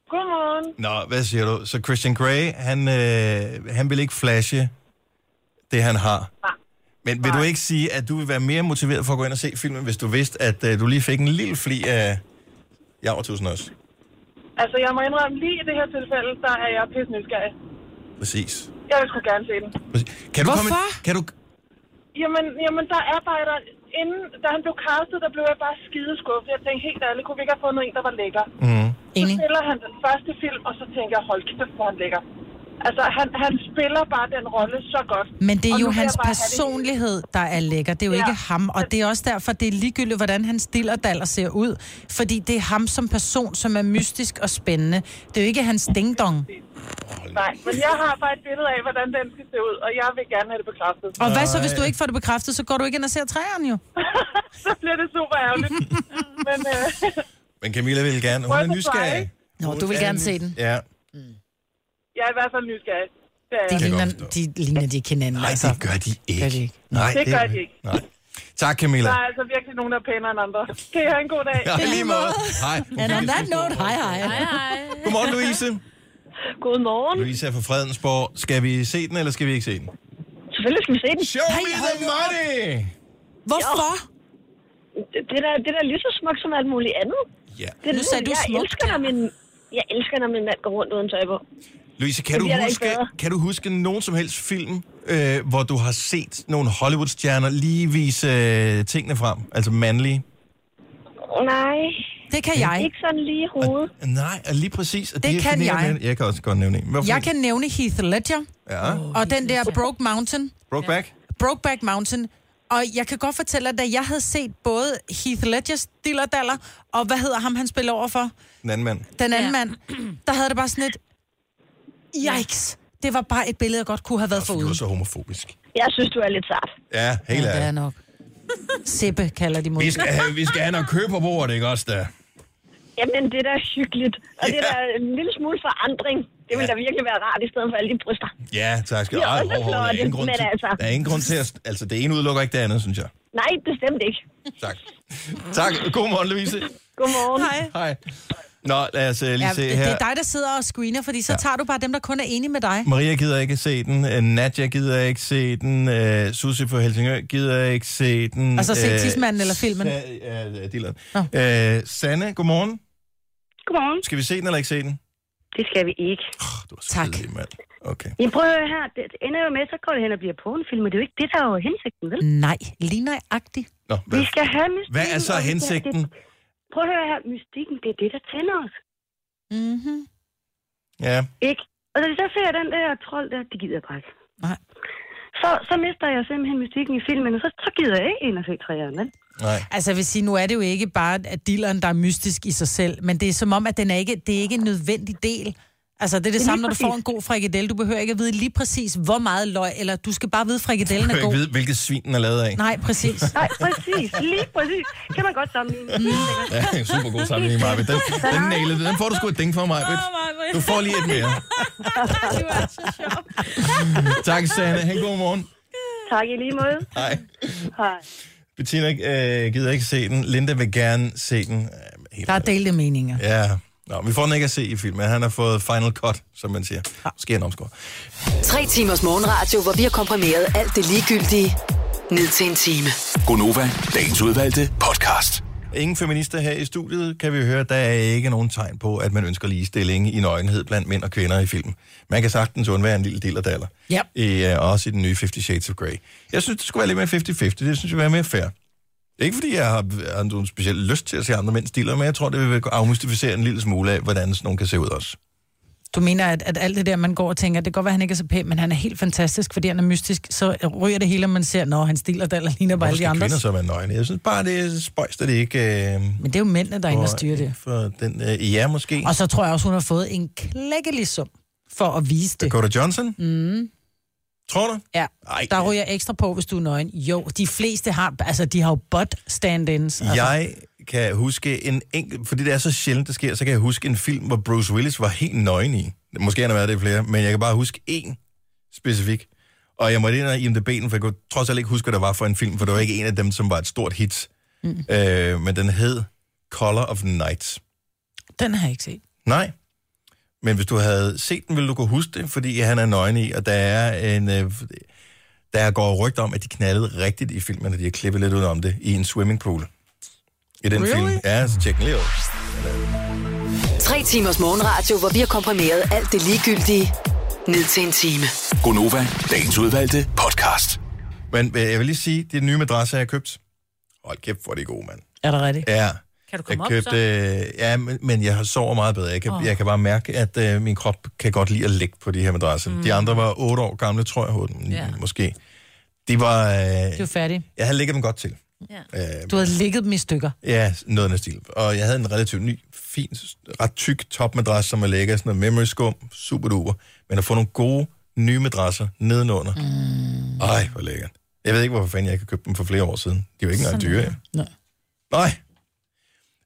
Speaker 6: Godmorgen.
Speaker 1: Nå, hvad siger du? Så Christian Grey, han, øh, han vil ikke flashe det, han har. Men vil du ikke sige, at du vil være mere motiveret for at gå ind og se filmen, hvis du vidste, at øh, du lige fik en lille fli af Javertusen også?
Speaker 6: Altså, jeg må indrømme, lige i det her tilfælde, der er jeg pisse nysgerrig.
Speaker 1: Præcis.
Speaker 6: Jeg vil sgu gerne se den.
Speaker 1: Kan du Hvorfor? Komme, kan du,
Speaker 6: Jamen, jamen, der arbejder... Inden, da han blev castet, der blev jeg bare skide skuffet. Jeg tænkte helt ærligt, kunne vi ikke have fundet en, der var lækker?
Speaker 1: Mm.
Speaker 6: Så spiller han den første film, og så tænker jeg, hold kæft, hvor er han lækker. Altså, han, han spiller bare den rolle så godt.
Speaker 2: Men det er
Speaker 6: Og nu
Speaker 2: jo
Speaker 6: vil jeg
Speaker 2: hans
Speaker 6: bare have det hele.
Speaker 2: personlighed, der er lækker. Det er jo ja.
Speaker 6: Ja.
Speaker 2: ikke ham, og det er også derfor, det er ligegyldigt, hvordan hans dillerdaller ser ud. Fordi det er ham som person, som er mystisk og spændende. Det er jo ikke hans dingdong.
Speaker 6: Nej, men jeg har bare et billede af, hvordan den skal se ud, og jeg vil gerne have det bekræftet.
Speaker 2: Og hvad så, hvis du ikke får det bekræftet, så går du ikke ind og ser træerne jo.
Speaker 6: så bliver det super ærgerligt. men øh,
Speaker 1: Men Camilla vil gerne. Hun
Speaker 6: Prøv
Speaker 1: er
Speaker 6: at forsvare,
Speaker 1: nysgerrig.
Speaker 6: ikke?
Speaker 2: Nå,
Speaker 1: Hun
Speaker 2: du vil
Speaker 1: er
Speaker 2: gerne
Speaker 1: nys-
Speaker 2: se den.
Speaker 1: Ja.
Speaker 6: jeg er i hvert fald nysgerrig. Det, er
Speaker 2: De
Speaker 6: jeg.
Speaker 2: ligner, de ligner de ikke hinanden. altså.
Speaker 1: Nej, det gør de ikke. Gør de ikke. Nej,
Speaker 6: det gør de ikke.
Speaker 1: Nej. Tak, Camilla.
Speaker 6: Der er altså virkelig nogen, der er pænere end andre. Kan I have en god dag?
Speaker 1: Ja, lige måde. Hej.
Speaker 2: And on that note, hej hej.
Speaker 1: Godmorgen, Louise.
Speaker 11: Godmorgen.
Speaker 1: Louise er fra Fredensborg. Skal vi se den, eller skal vi ikke se den?
Speaker 11: Selvfølgelig skal vi se den.
Speaker 1: Show me the money!
Speaker 2: Hvorfor?
Speaker 11: Det er, da, det er da lige så smukt som alt muligt andet.
Speaker 1: Ja.
Speaker 11: Det er
Speaker 2: Nu
Speaker 11: det,
Speaker 2: sagde du
Speaker 11: jeg
Speaker 2: smukt,
Speaker 11: elsker, når min, jeg elsker, når min mand går rundt uden tøj på.
Speaker 1: Louise, kan
Speaker 11: Det
Speaker 1: du,
Speaker 11: bliver da ikke
Speaker 1: huske,
Speaker 11: bedre.
Speaker 1: kan du huske nogen som helst film, øh, hvor du har set nogle Hollywood-stjerner lige vise øh, tingene frem? Altså mandlige?
Speaker 11: Nej.
Speaker 2: Det kan jeg.
Speaker 11: Ikke sådan lige i hovedet.
Speaker 1: Nej, og lige præcis. Og
Speaker 2: Det
Speaker 1: er
Speaker 2: kan
Speaker 1: generende.
Speaker 2: jeg.
Speaker 1: Jeg kan også godt nævne en. Hvorfor?
Speaker 2: Jeg kan nævne Heath Ledger
Speaker 1: Ja.
Speaker 2: og den der Broke Mountain.
Speaker 1: Brokeback?
Speaker 2: Brokeback Mountain. Og jeg kan godt fortælle, at da jeg havde set både Heath Ledgers dillerdaller, og hvad hedder ham, han spiller overfor,
Speaker 1: Den anden mand.
Speaker 2: den anden ja. mand, der havde det bare sådan et, yikes, det var bare et billede, jeg godt kunne have været
Speaker 1: Du er
Speaker 2: foruden.
Speaker 1: så homofobisk.
Speaker 11: Jeg synes, du er lidt sart.
Speaker 1: Ja, helt
Speaker 2: Ja, det er
Speaker 1: ærligt.
Speaker 2: nok. Sippe kalder de mod.
Speaker 1: Vi skal, have, vi skal have noget kød på bordet, ikke også der?
Speaker 11: Jamen, det er da hyggeligt. Og det er da en lille smule forandring. Det ville
Speaker 1: Ja.
Speaker 11: da virkelig være rart, i stedet for alle de bryster.
Speaker 1: Ja, tak skal du
Speaker 11: Det er
Speaker 1: have.
Speaker 11: også
Speaker 1: Hov, hov, Der er
Speaker 11: flotte,
Speaker 1: ingen grund
Speaker 11: men
Speaker 1: til,
Speaker 11: altså.
Speaker 1: der er ingen grund til at... Altså, det ene udelukker ikke det andet, synes jeg.
Speaker 11: Nej, bestemt ikke.
Speaker 1: Tak. tak. Godmorgen, Louise.
Speaker 11: Godmorgen.
Speaker 2: Hej.
Speaker 1: Hej. Nå, lad os uh, lige
Speaker 2: Ja,
Speaker 1: se
Speaker 2: det,
Speaker 1: her.
Speaker 2: det er dig, der sidder og screener, fordi så tager du bare dem, der kun er enige med dig.
Speaker 1: Maria gider ikke se den. øh, Nadja gider ikke se den. Uh, Susie fra Helsingør gider ikke se den.
Speaker 2: Altså, se
Speaker 1: øh,
Speaker 2: Tidsmanden eller filmen?
Speaker 1: Sa- Ja, uh, Dylan. Uh, Sanne, godmorgen.
Speaker 11: Godmorgen.
Speaker 1: Skal vi se den eller ikke se den?
Speaker 11: Det skal vi ikke.
Speaker 1: Du er så tak. Kedelig, mand. Okay.
Speaker 11: I prøver her, det det ender jo med, så går det hen og bliver pornofilm, og det er jo ikke det, der er jo hensigten, vel?
Speaker 2: Nej, Mm. lige nøjagtigt.
Speaker 1: Nå,
Speaker 11: Vi
Speaker 1: hvad,
Speaker 11: skal have mystikken.
Speaker 1: hvad er så
Speaker 11: og vi skal-
Speaker 1: hensigten?
Speaker 11: Det, prøv at høre her, mystikken, det er det, der tænder os.
Speaker 2: Mm-hmm.
Speaker 1: Ja,
Speaker 11: Ikke? Og da så ser jeg den der trold der, det gider jeg bare ikke.
Speaker 2: Nej.
Speaker 11: Så, så mister jeg simpelthen mystikken i filmen, og så, så gider jeg ikke ind og se træerne, vel?
Speaker 1: nej.
Speaker 2: Altså jeg vil sige, nu er det jo ikke bare, at dilleren, der er mystisk i sig selv, men det er som om, at den er ikke, det er ikke en nødvendig del. Altså det er det,
Speaker 11: er
Speaker 2: samme,
Speaker 11: lige
Speaker 2: når du
Speaker 11: præcis.
Speaker 2: får en god frikadelle. Du behøver ikke at vide lige præcis, hvor meget løg, eller du skal bare vide, at frikadellen
Speaker 1: Jeg kan
Speaker 2: er
Speaker 1: ikke
Speaker 2: god.
Speaker 1: vide, hvilket svin den er lavet af.
Speaker 2: Nej, præcis.
Speaker 11: Nej, præcis. Lige præcis. Kan man godt sammenligne.
Speaker 2: Mm.
Speaker 1: Ja, super god sammenligning, Marvitt. Den, den nailede det. Den får du sgu et ding for, Marvitt. Du får lige et mere. tak, Sanne. Ha' en god morgen.
Speaker 11: Tak i lige måde.
Speaker 1: Hej.
Speaker 11: Hej.
Speaker 1: Bettina øh, gider ikke se den. Linda vil gerne se den. Øh, helt
Speaker 2: Der er delte meninger.
Speaker 1: Ja. Nå, vi får den ikke at se i filmen. Han har fået final cut, som man siger. Måske en omskår.
Speaker 4: Tre timers morgenradio, hvor vi har komprimeret alt det ligegyldige ned til en time.
Speaker 12: Gonova, dagens udvalgte podcast.
Speaker 1: Ingen feminister her i studiet, kan vi høre, der er ikke nogen tegn på, at man ønsker ligestilling i nøgenhed blandt mænd og kvinder i filmen. Man kan sagtens undvære en lille del af daller.
Speaker 2: Ja.
Speaker 1: I, øh, også i den nye Fifty Shades of Grey. Jeg synes, det skulle være lidt mere 50-50. Det synes jeg ville være mere fair. Det er ikke, fordi jeg har, har nogen speciel lyst til at se andre mænds stiller, men jeg tror, det vil afmystificere en lille smule af, hvordan sådan nogen kan se ud også.
Speaker 2: Du mener, at, at alt det der, man går og tænker, det kan godt være, at han ikke er så pæn, men han er helt fantastisk, fordi han er mystisk, så ryger det hele, og man ser, når han stiller daller ligner bare
Speaker 1: Hvorfor
Speaker 2: alle de
Speaker 1: skal
Speaker 2: andre.
Speaker 1: kvinder så være nøgne? Jeg synes bare, det er spøjst, at det ikke... Øh,
Speaker 2: Men det er jo mændene, der er inde og
Speaker 1: går
Speaker 2: styrer det.
Speaker 1: ind For den, øh, ja, måske.
Speaker 2: Og så tror jeg også, hun har fået en klækkelig sum for at vise det.
Speaker 1: Dakota Johnson?
Speaker 2: Mm.
Speaker 1: Tror du?
Speaker 2: Ja,
Speaker 1: Ej.
Speaker 2: der ryger ekstra på, hvis du er nøgen. Jo, de fleste har, altså de har jo butt stand-ins. Altså.
Speaker 1: Jeg kan huske en enkelt, fordi det er så sjældent, det sker, så kan jeg huske en film, hvor Bruce Willis var helt nøgen i. Måske han har været det i flere, men jeg kan bare huske én specifik. Og jeg måtte ind og IMDb'en, for jeg kunne trods alt ikke huske, hvad der var for en film, for det var ikke en af dem, som var et stort hit. Mm. Øh, men den hed Color of Night.
Speaker 2: Den har jeg ikke set.
Speaker 1: Nej. Men hvis du havde set den, ville du kunne huske det, fordi han er nøgen i, og der er en... Øh, der går rygt om, at de knaldede rigtigt i filmen, og de har klippet lidt ud om det, i en swimmingpool. I den
Speaker 4: Really?
Speaker 1: film. Ja, så tjek den lige ud.
Speaker 4: Tre Tre timers morgenradio, hvor vi har komprimeret alt det ligegyldige ned til en time.
Speaker 12: Gonova, dagens udvalgte podcast.
Speaker 1: Men øh, jeg vil lige sige, det nye madrasser, jeg har købt. Hold kæft, hvor er det gode, mand.
Speaker 2: Er det rigtigt?
Speaker 1: Ja.
Speaker 2: Kan du
Speaker 1: Jeg
Speaker 2: komme
Speaker 1: købte, øh, ja, men, men jeg har sover meget bedre. Jeg kan,
Speaker 2: Åh.
Speaker 1: oh. jeg kan bare mærke, at øh, min krop kan godt lide at ligge på de her madrasser.
Speaker 2: Mm.
Speaker 1: Mm. De andre var 8 år gamle, tror jeg, hovedet,
Speaker 2: Ja.
Speaker 1: ja. måske. De var... Øh,
Speaker 2: Du er færdig.
Speaker 1: jeg havde ligget dem godt til. Ja. Øh,
Speaker 2: Du havde ligget dem i stykker.
Speaker 1: Ja, noget af den stil. Og jeg havde en relativt ny, fin, ret tyk topmadras, som er lækker. Sådan noget memory skum, super duper. Men at få nogle gode, nye madrasser nedenunder. Mm. Ej, hvor lækkert. Jeg ved ikke, hvorfor fanden jeg ikke har købt dem for flere år siden. De var ikke engang
Speaker 2: Sådan
Speaker 1: dyre.
Speaker 2: er
Speaker 1: ja.
Speaker 2: Nej.
Speaker 1: Nej.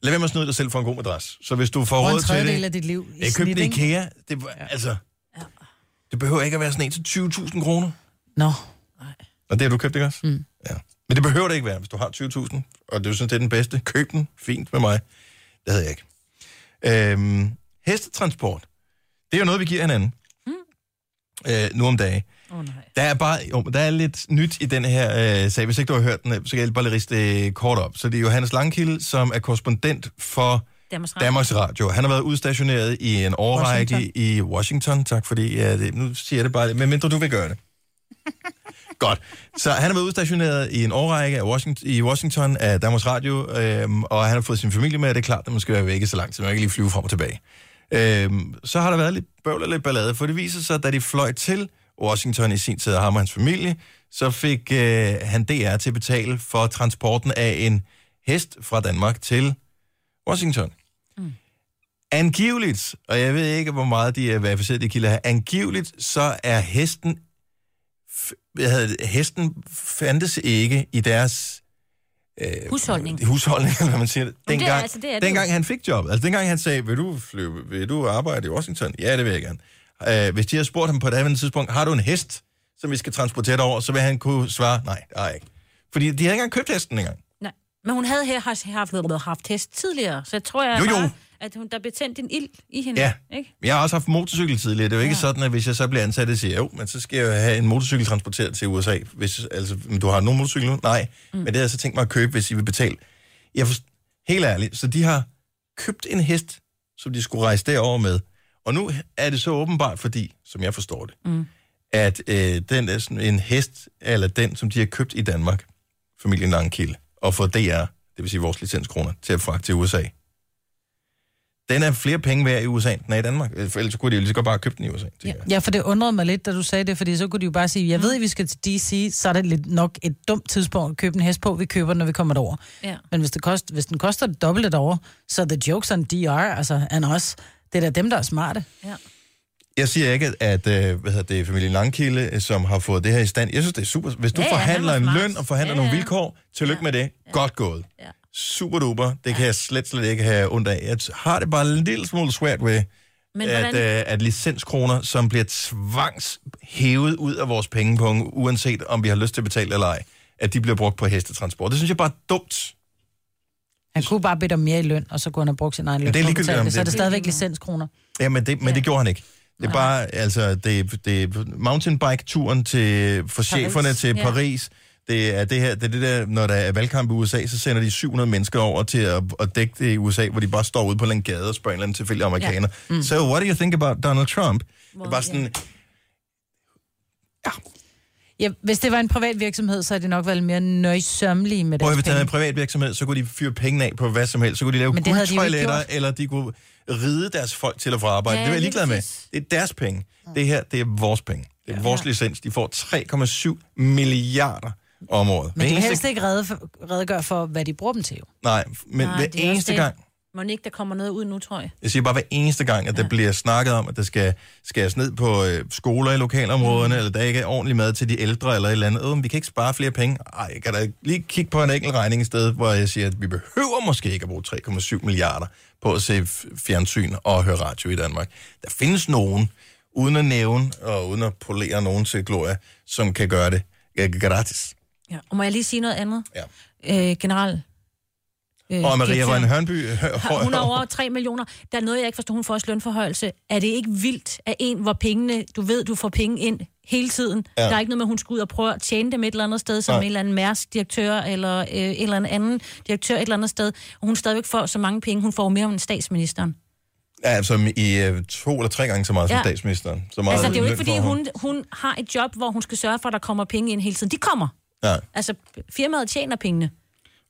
Speaker 1: Lad være med at snyde dig selv for en god madras. Så hvis du får
Speaker 2: For en
Speaker 1: råd til
Speaker 2: tredjedel
Speaker 1: det...
Speaker 2: af dit liv i
Speaker 1: Jeg købte
Speaker 2: snit,
Speaker 1: den i
Speaker 2: ikke?
Speaker 1: IKEA. Det, var, altså, det behøver ikke at være sådan en til 20.000 kroner.
Speaker 2: Nå.
Speaker 1: Og det har du købt, ikke også? Mm. Ja. Men det behøver det ikke være, hvis du har 20.000, og du synes, det er den bedste. Køb den. Fint med mig. Det havde jeg ikke. Øhm, hestetransport. Det er jo noget, vi giver hinanden. Mm. Øh, nu om dagen.
Speaker 3: Oh,
Speaker 1: Der er bare jo, men der er lidt nyt i den her øh, sag. Hvis ikke du har hørt den, øh, så kan jeg bare lige riste øh, kort op. Så det er Johannes Langkilde, som er korrespondent for
Speaker 3: Danmarks Radio.
Speaker 1: Danmarks Radio. Han har været udstationeret i en årrække
Speaker 3: Washington.
Speaker 1: Washington. i Washington. Tak fordi, ja, det, nu siger jeg det bare, men mindre du vil gøre det. Godt. Så han har været udstationeret i en årrække af Washington, i Washington af Danmarks Radio, øhm, og han har fået sin familie med, og det er klart, at man skal være væk så lang tid, man kan ikke lige flyve frem og tilbage. Øhm, så har der været lidt bøvl og lidt ballade, for det viser sig, at da de fløj til Washington i sin tid, ham og hans familie, så fik øh, han DR til at betale for transporten af en hest fra Danmark til Washington.
Speaker 3: Mm.
Speaker 1: Angiveligt, og jeg ved ikke, hvor meget de øh, er verificeret, de kilder her, angiveligt så er hesten, f- hvad hedder det, hesten fandtes ikke i deres øh,
Speaker 3: Husholdning.
Speaker 1: husholdning, eller hvad man siger det.
Speaker 3: Men det er
Speaker 1: Dengang,
Speaker 3: altså- det er det jo.
Speaker 1: dengang han fik jobbet, altså dengang han sagde, vil du, flyve, vil du arbejde i Washington? Ja, det vil jeg gerne. Øh, hvis de havde spurgt ham på et andet tidspunkt, har du en hest, som vi skal transportere dig over, så vil han kunne svare, nej, det har jeg ikke. Fordi de havde ikke engang købt hesten engang.
Speaker 3: Nej. Men hun havde her haft, haft, haft hest tidligere, så jeg tror jeg
Speaker 1: Jo, jo.
Speaker 3: Bare, at hun, der blev tændt en ild i hende.
Speaker 1: Ja.
Speaker 3: Ikke?
Speaker 1: Jeg har også haft motorcykel tidligere. Det er jo ikke ja. sådan, at hvis jeg så bliver ansat, og siger, jo, men så skal jeg jo have en motorcykel transporteret til USA. Hvis, altså, men du har nogen motorcykel nu? Nej. Mm. Men det har jeg så tænkt mig at købe, hvis I vil betale. Jeg forst... Helt ærligt, så de har købt en hest, som de skulle rejse derover med. Og nu er det så åbenbart, fordi, som jeg forstår det,
Speaker 3: Mm.
Speaker 1: at øh, den er sådan en hest, eller den, som de har købt i Danmark, familien Langkilde, og fået DR, det vil sige vores licenskroner, til at fragte til USA. Den er flere penge værd i USA, end den er i Danmark. Øh, For ellers så kunne de jo lige så godt bare have købt den i USA. Ja.
Speaker 2: Ja, for det undrede mig lidt, da du sagde det, fordi så kunne de jo bare sige, jeg ved, at vi skal til DC, så er det lidt nok et dumt tidspunkt at købe en hest på, vi køber den, når vi kommer derover.
Speaker 3: Ja.
Speaker 2: Men hvis, det kost, hvis den koster det dobbelte derover, så er the jokes on DR, altså and us. Det er da dem, der er smarte.
Speaker 3: Ja.
Speaker 1: Jeg siger ikke, at øh, hvad hedder det, familien Langkilde, øh, som har fået det her i stand, jeg synes, det er super. Hvis du
Speaker 3: Ja,
Speaker 1: ja,
Speaker 3: ja, han
Speaker 1: forhandler
Speaker 3: var
Speaker 1: en
Speaker 3: smart.
Speaker 1: løn og forhandler
Speaker 3: Ja,
Speaker 1: nogle
Speaker 3: ja.
Speaker 1: vilkår, tillykke med det. Godt gået. Super duper. Det kan jeg slet, slet ikke have ondt af. Jeg har det bare en lille smule svært ved,
Speaker 3: Men
Speaker 1: Men at,
Speaker 3: hvordan-
Speaker 1: øh, at licenskroner, som bliver tvangshævet ud af vores pengepunkt, uanset om vi har lyst til at betale eller ej, at de bliver brugt på hestetransport. Det synes jeg bare er dumt.
Speaker 2: Han kunne bare bede om mere i løn, og så kunne han have brugt sin egen løn.
Speaker 1: Men det er
Speaker 2: for at
Speaker 1: ligegyldigt,
Speaker 2: betale
Speaker 1: om
Speaker 2: det, så er
Speaker 1: det-
Speaker 2: det stadigvæk licenskroner.
Speaker 1: Ja, men det, men det gjorde han ikke. Det er bare, altså, det, det er mountainbike-turen til, for
Speaker 2: Paris.
Speaker 1: cheferne til
Speaker 2: Ja.
Speaker 1: Paris. Det er det her, det er det der, når der er valgkamp i USA, så sender de 700 mennesker over til at, at dække det i USA, hvor de bare står ude på en eller anden gade og spørger en eller anden tilfældig amerikaner.
Speaker 12: Ja.
Speaker 1: Ja.
Speaker 12: Mm.
Speaker 1: Mm. So what do you think about Donald Trump? det er bare sådan,
Speaker 2: Ja, hvis det var en privat virksomhed, så er det nok været mere nøjsommelige med
Speaker 1: Prøv at
Speaker 2: deres
Speaker 1: hvis det
Speaker 2: penge.
Speaker 1: havde en privat virksomhed, så kunne de fyre penge af på hvad som helst. Så kunne de lave
Speaker 2: Men det havde de jo ikke
Speaker 1: guldtoiletter,
Speaker 2: gjort.
Speaker 1: eller de kunne ride deres folk til at få arbejde.
Speaker 2: Ja,
Speaker 1: Ja, det er jeg
Speaker 2: lige
Speaker 1: ligeglad med.
Speaker 2: præcis.
Speaker 1: Det er deres penge. Det her, det er vores penge. Det er vores licens. De får 3,7 milliarder om året. Hver
Speaker 2: Men de vil
Speaker 1: eneste-
Speaker 2: helst ikke redde for, redegøre for, hvad de bruger dem til. Jo.
Speaker 1: Nej, men
Speaker 3: Nej,
Speaker 1: hver
Speaker 3: det er også
Speaker 1: eneste
Speaker 3: det.
Speaker 1: gang,
Speaker 3: Må ikke, der kommer noget ud nu, tror jeg.
Speaker 1: jeg siger bare hver eneste gang, at der bliver snakket om, at der skal skæres ned på øh, skoler i
Speaker 3: Mm.
Speaker 1: lokalområderne, eller der ikke er ordentlig mad til de ældre, eller et eller andet. Øh, men vi kan ikke spare flere penge. Ej, jeg kan da lige kigge på en enkelt regning i stedet, hvor jeg siger, at vi behøver måske ikke at bruge 3,7 milliarder på at se f- fjernsyn og høre radio i Danmark. Der findes nogen, uden at nævne og uden at polere nogen til gloria, som kan gøre det øh, gratis.
Speaker 3: Ja. Og må jeg lige sige noget andet?
Speaker 1: Ja.
Speaker 3: Øh, general. øh,
Speaker 1: Og Maria
Speaker 3: direktøren.
Speaker 1: Rønne Hørnby...
Speaker 3: Har- Hun er over 3 millioner. Der er noget, jeg ikke forstår. Hun får også lønforhøjelse. Er det ikke vildt, at en, hvor pengene... Du ved, du får penge ind hele tiden. Ja.
Speaker 2: Ja.
Speaker 3: Der er ikke noget med, at hun skal ud og prøve at tjene dem et eller andet sted, som
Speaker 2: Nej.
Speaker 3: en eller anden Mærsk-direktør, eller øh, en eller anden anden direktør et eller andet sted. Og hun stadigvæk får så mange penge. Hun får jo mere end statsministeren.
Speaker 1: Ja, som i øh, to eller tre gange så meget ja.
Speaker 3: Ja.
Speaker 1: som statsministeren. Så meget
Speaker 3: Altså, det er jo ikke,
Speaker 1: løn
Speaker 3: fordi
Speaker 1: får
Speaker 3: hun, hun har et job, hvor hun skal sørge for, at der kommer penge ind hele tiden. De kommer.
Speaker 1: Ja.
Speaker 3: Altså, firmaet tjener pengene.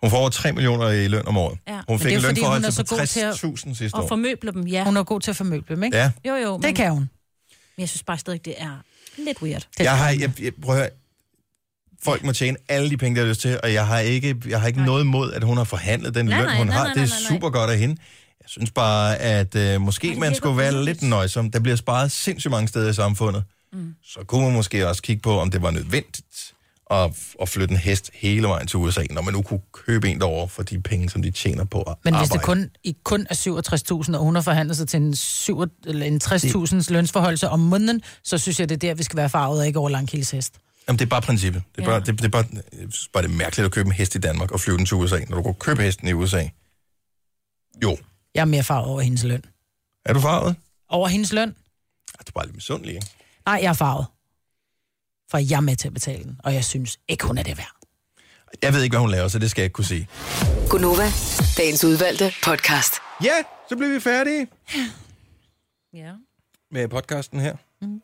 Speaker 1: Hun får over 3 millioner i løn om året.
Speaker 3: Ja.
Speaker 1: Hun
Speaker 2: Men det
Speaker 1: fik
Speaker 2: er
Speaker 1: en
Speaker 2: jo, fordi hun er
Speaker 1: lønforhøjelse
Speaker 2: så
Speaker 1: på
Speaker 2: god til at-
Speaker 1: 60.000 sidste
Speaker 3: Og
Speaker 1: år.
Speaker 3: formøble dem, ja.
Speaker 2: Hun er god til at formøble dem, ikke?
Speaker 1: Ja.
Speaker 3: Jo, jo. Men,
Speaker 2: Det kan hun.
Speaker 3: Men jeg synes bare stadig, det er lidt weird.
Speaker 1: Jeg har, jeg, jeg, prøv at høre. Folk må tjene alle de penge, der er lyst til, og jeg har ikke, jeg har ikke noget imod, at hun har forhandlet den
Speaker 3: Nej,
Speaker 1: løn,
Speaker 3: nej,
Speaker 1: hun
Speaker 3: nej,
Speaker 1: har.
Speaker 3: nej,
Speaker 1: det er
Speaker 3: nej, nej.
Speaker 1: super godt af hende. Jeg synes bare, at øh, måske man skulle være lidt nøjsom. Der bliver sparet sindssygt mange steder i samfundet. Mm. Så kunne man måske også kigge på, om det var nødvendigt at, at flytte en hest hele vejen til USA, når man nu kunne købe en derovre for de penge, som de tjener på at
Speaker 2: Men hvis
Speaker 1: arbejde.
Speaker 2: det kun, i kun er 67.000, og hun har forhandlet sig til en, syv, eller en 60.000 lønsforholdelse om måneden, så synes jeg, det er der, vi skal være farvet og ikke over langkildes hest.
Speaker 1: Jamen, det er bare princippet. Det er,
Speaker 2: Ja.
Speaker 1: bare, det, det er bare, jeg synes bare, det er mærkeligt at købe en hest i Danmark og flyve den til USA, når du kunne købe hesten i USA. Jo.
Speaker 2: Jeg er mere farvet over hendes løn.
Speaker 1: Er du farvet?
Speaker 2: Over hendes løn?
Speaker 1: Du er bare lidt misundelig, ikke?
Speaker 2: Nej, jeg er farvet. For jeg er med til at betale den, og jeg synes ikke, hun er det værd.
Speaker 1: Jeg ved ikke, hvad hun laver, så det skal jeg ikke kunne sige.
Speaker 4: Gunova, dagens udvalgte podcast.
Speaker 1: Ja, så bliver vi færdige
Speaker 3: Ja.
Speaker 1: med podcasten her.
Speaker 2: Mm.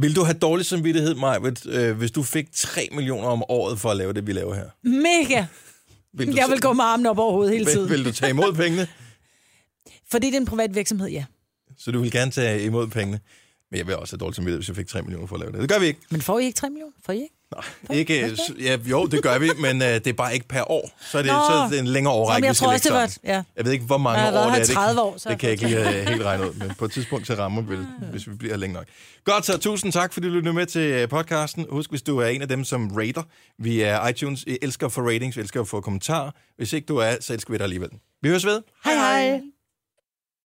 Speaker 1: Vil du have dårlig samvittighed, Maj, øh, hvis du fik 3 millioner om året for at lave det, vi laver her?
Speaker 2: Mega!
Speaker 1: Vil du
Speaker 2: Jeg vil
Speaker 1: så-
Speaker 2: gå med armen op over hovedet hele
Speaker 1: Vil,
Speaker 2: tiden.
Speaker 1: vil du tage imod pengene?
Speaker 2: Fordi det er en privat virksomhed, ja.
Speaker 1: Så du vil gerne tage imod pengene. Men jeg vil også have dårlig samvittighed, hvis jeg fik 3 millioner for at lave det. Det gør vi ikke.
Speaker 2: Men får I ikke 3 millioner? Får I ikke?
Speaker 1: Ikke, s- ja, jo, det gør vi, men øh, det er bare ikke per år. Så er det,
Speaker 2: Nå.
Speaker 1: så er det en længere
Speaker 2: Nå, men
Speaker 1: årrække,
Speaker 2: jeg
Speaker 1: vi skal
Speaker 2: tror
Speaker 1: lægge
Speaker 2: også, det var
Speaker 1: sammen.
Speaker 2: et- ja.
Speaker 1: Jeg ved ikke, hvor mange
Speaker 2: Jeg har
Speaker 1: år
Speaker 2: været
Speaker 1: det er.
Speaker 2: her i 30 år,
Speaker 1: det,
Speaker 2: så
Speaker 1: det kan
Speaker 2: jeg
Speaker 1: jeg ikke
Speaker 2: får
Speaker 1: lige
Speaker 2: det.
Speaker 1: øh, helt regne ud, men på et tidspunkt så rammer vi, hvis vi bliver her længe nok. Godt, så tusind tak, fordi du lyttede med til øh, podcasten. Husk, hvis du er en af dem, som rater. Vi er iTunes, øh, elsker at få ratings, elsker at få kommentarer. Hvis ikke du er, så elsker vi dig alligevel. Vi høres ved.
Speaker 2: Hej hej!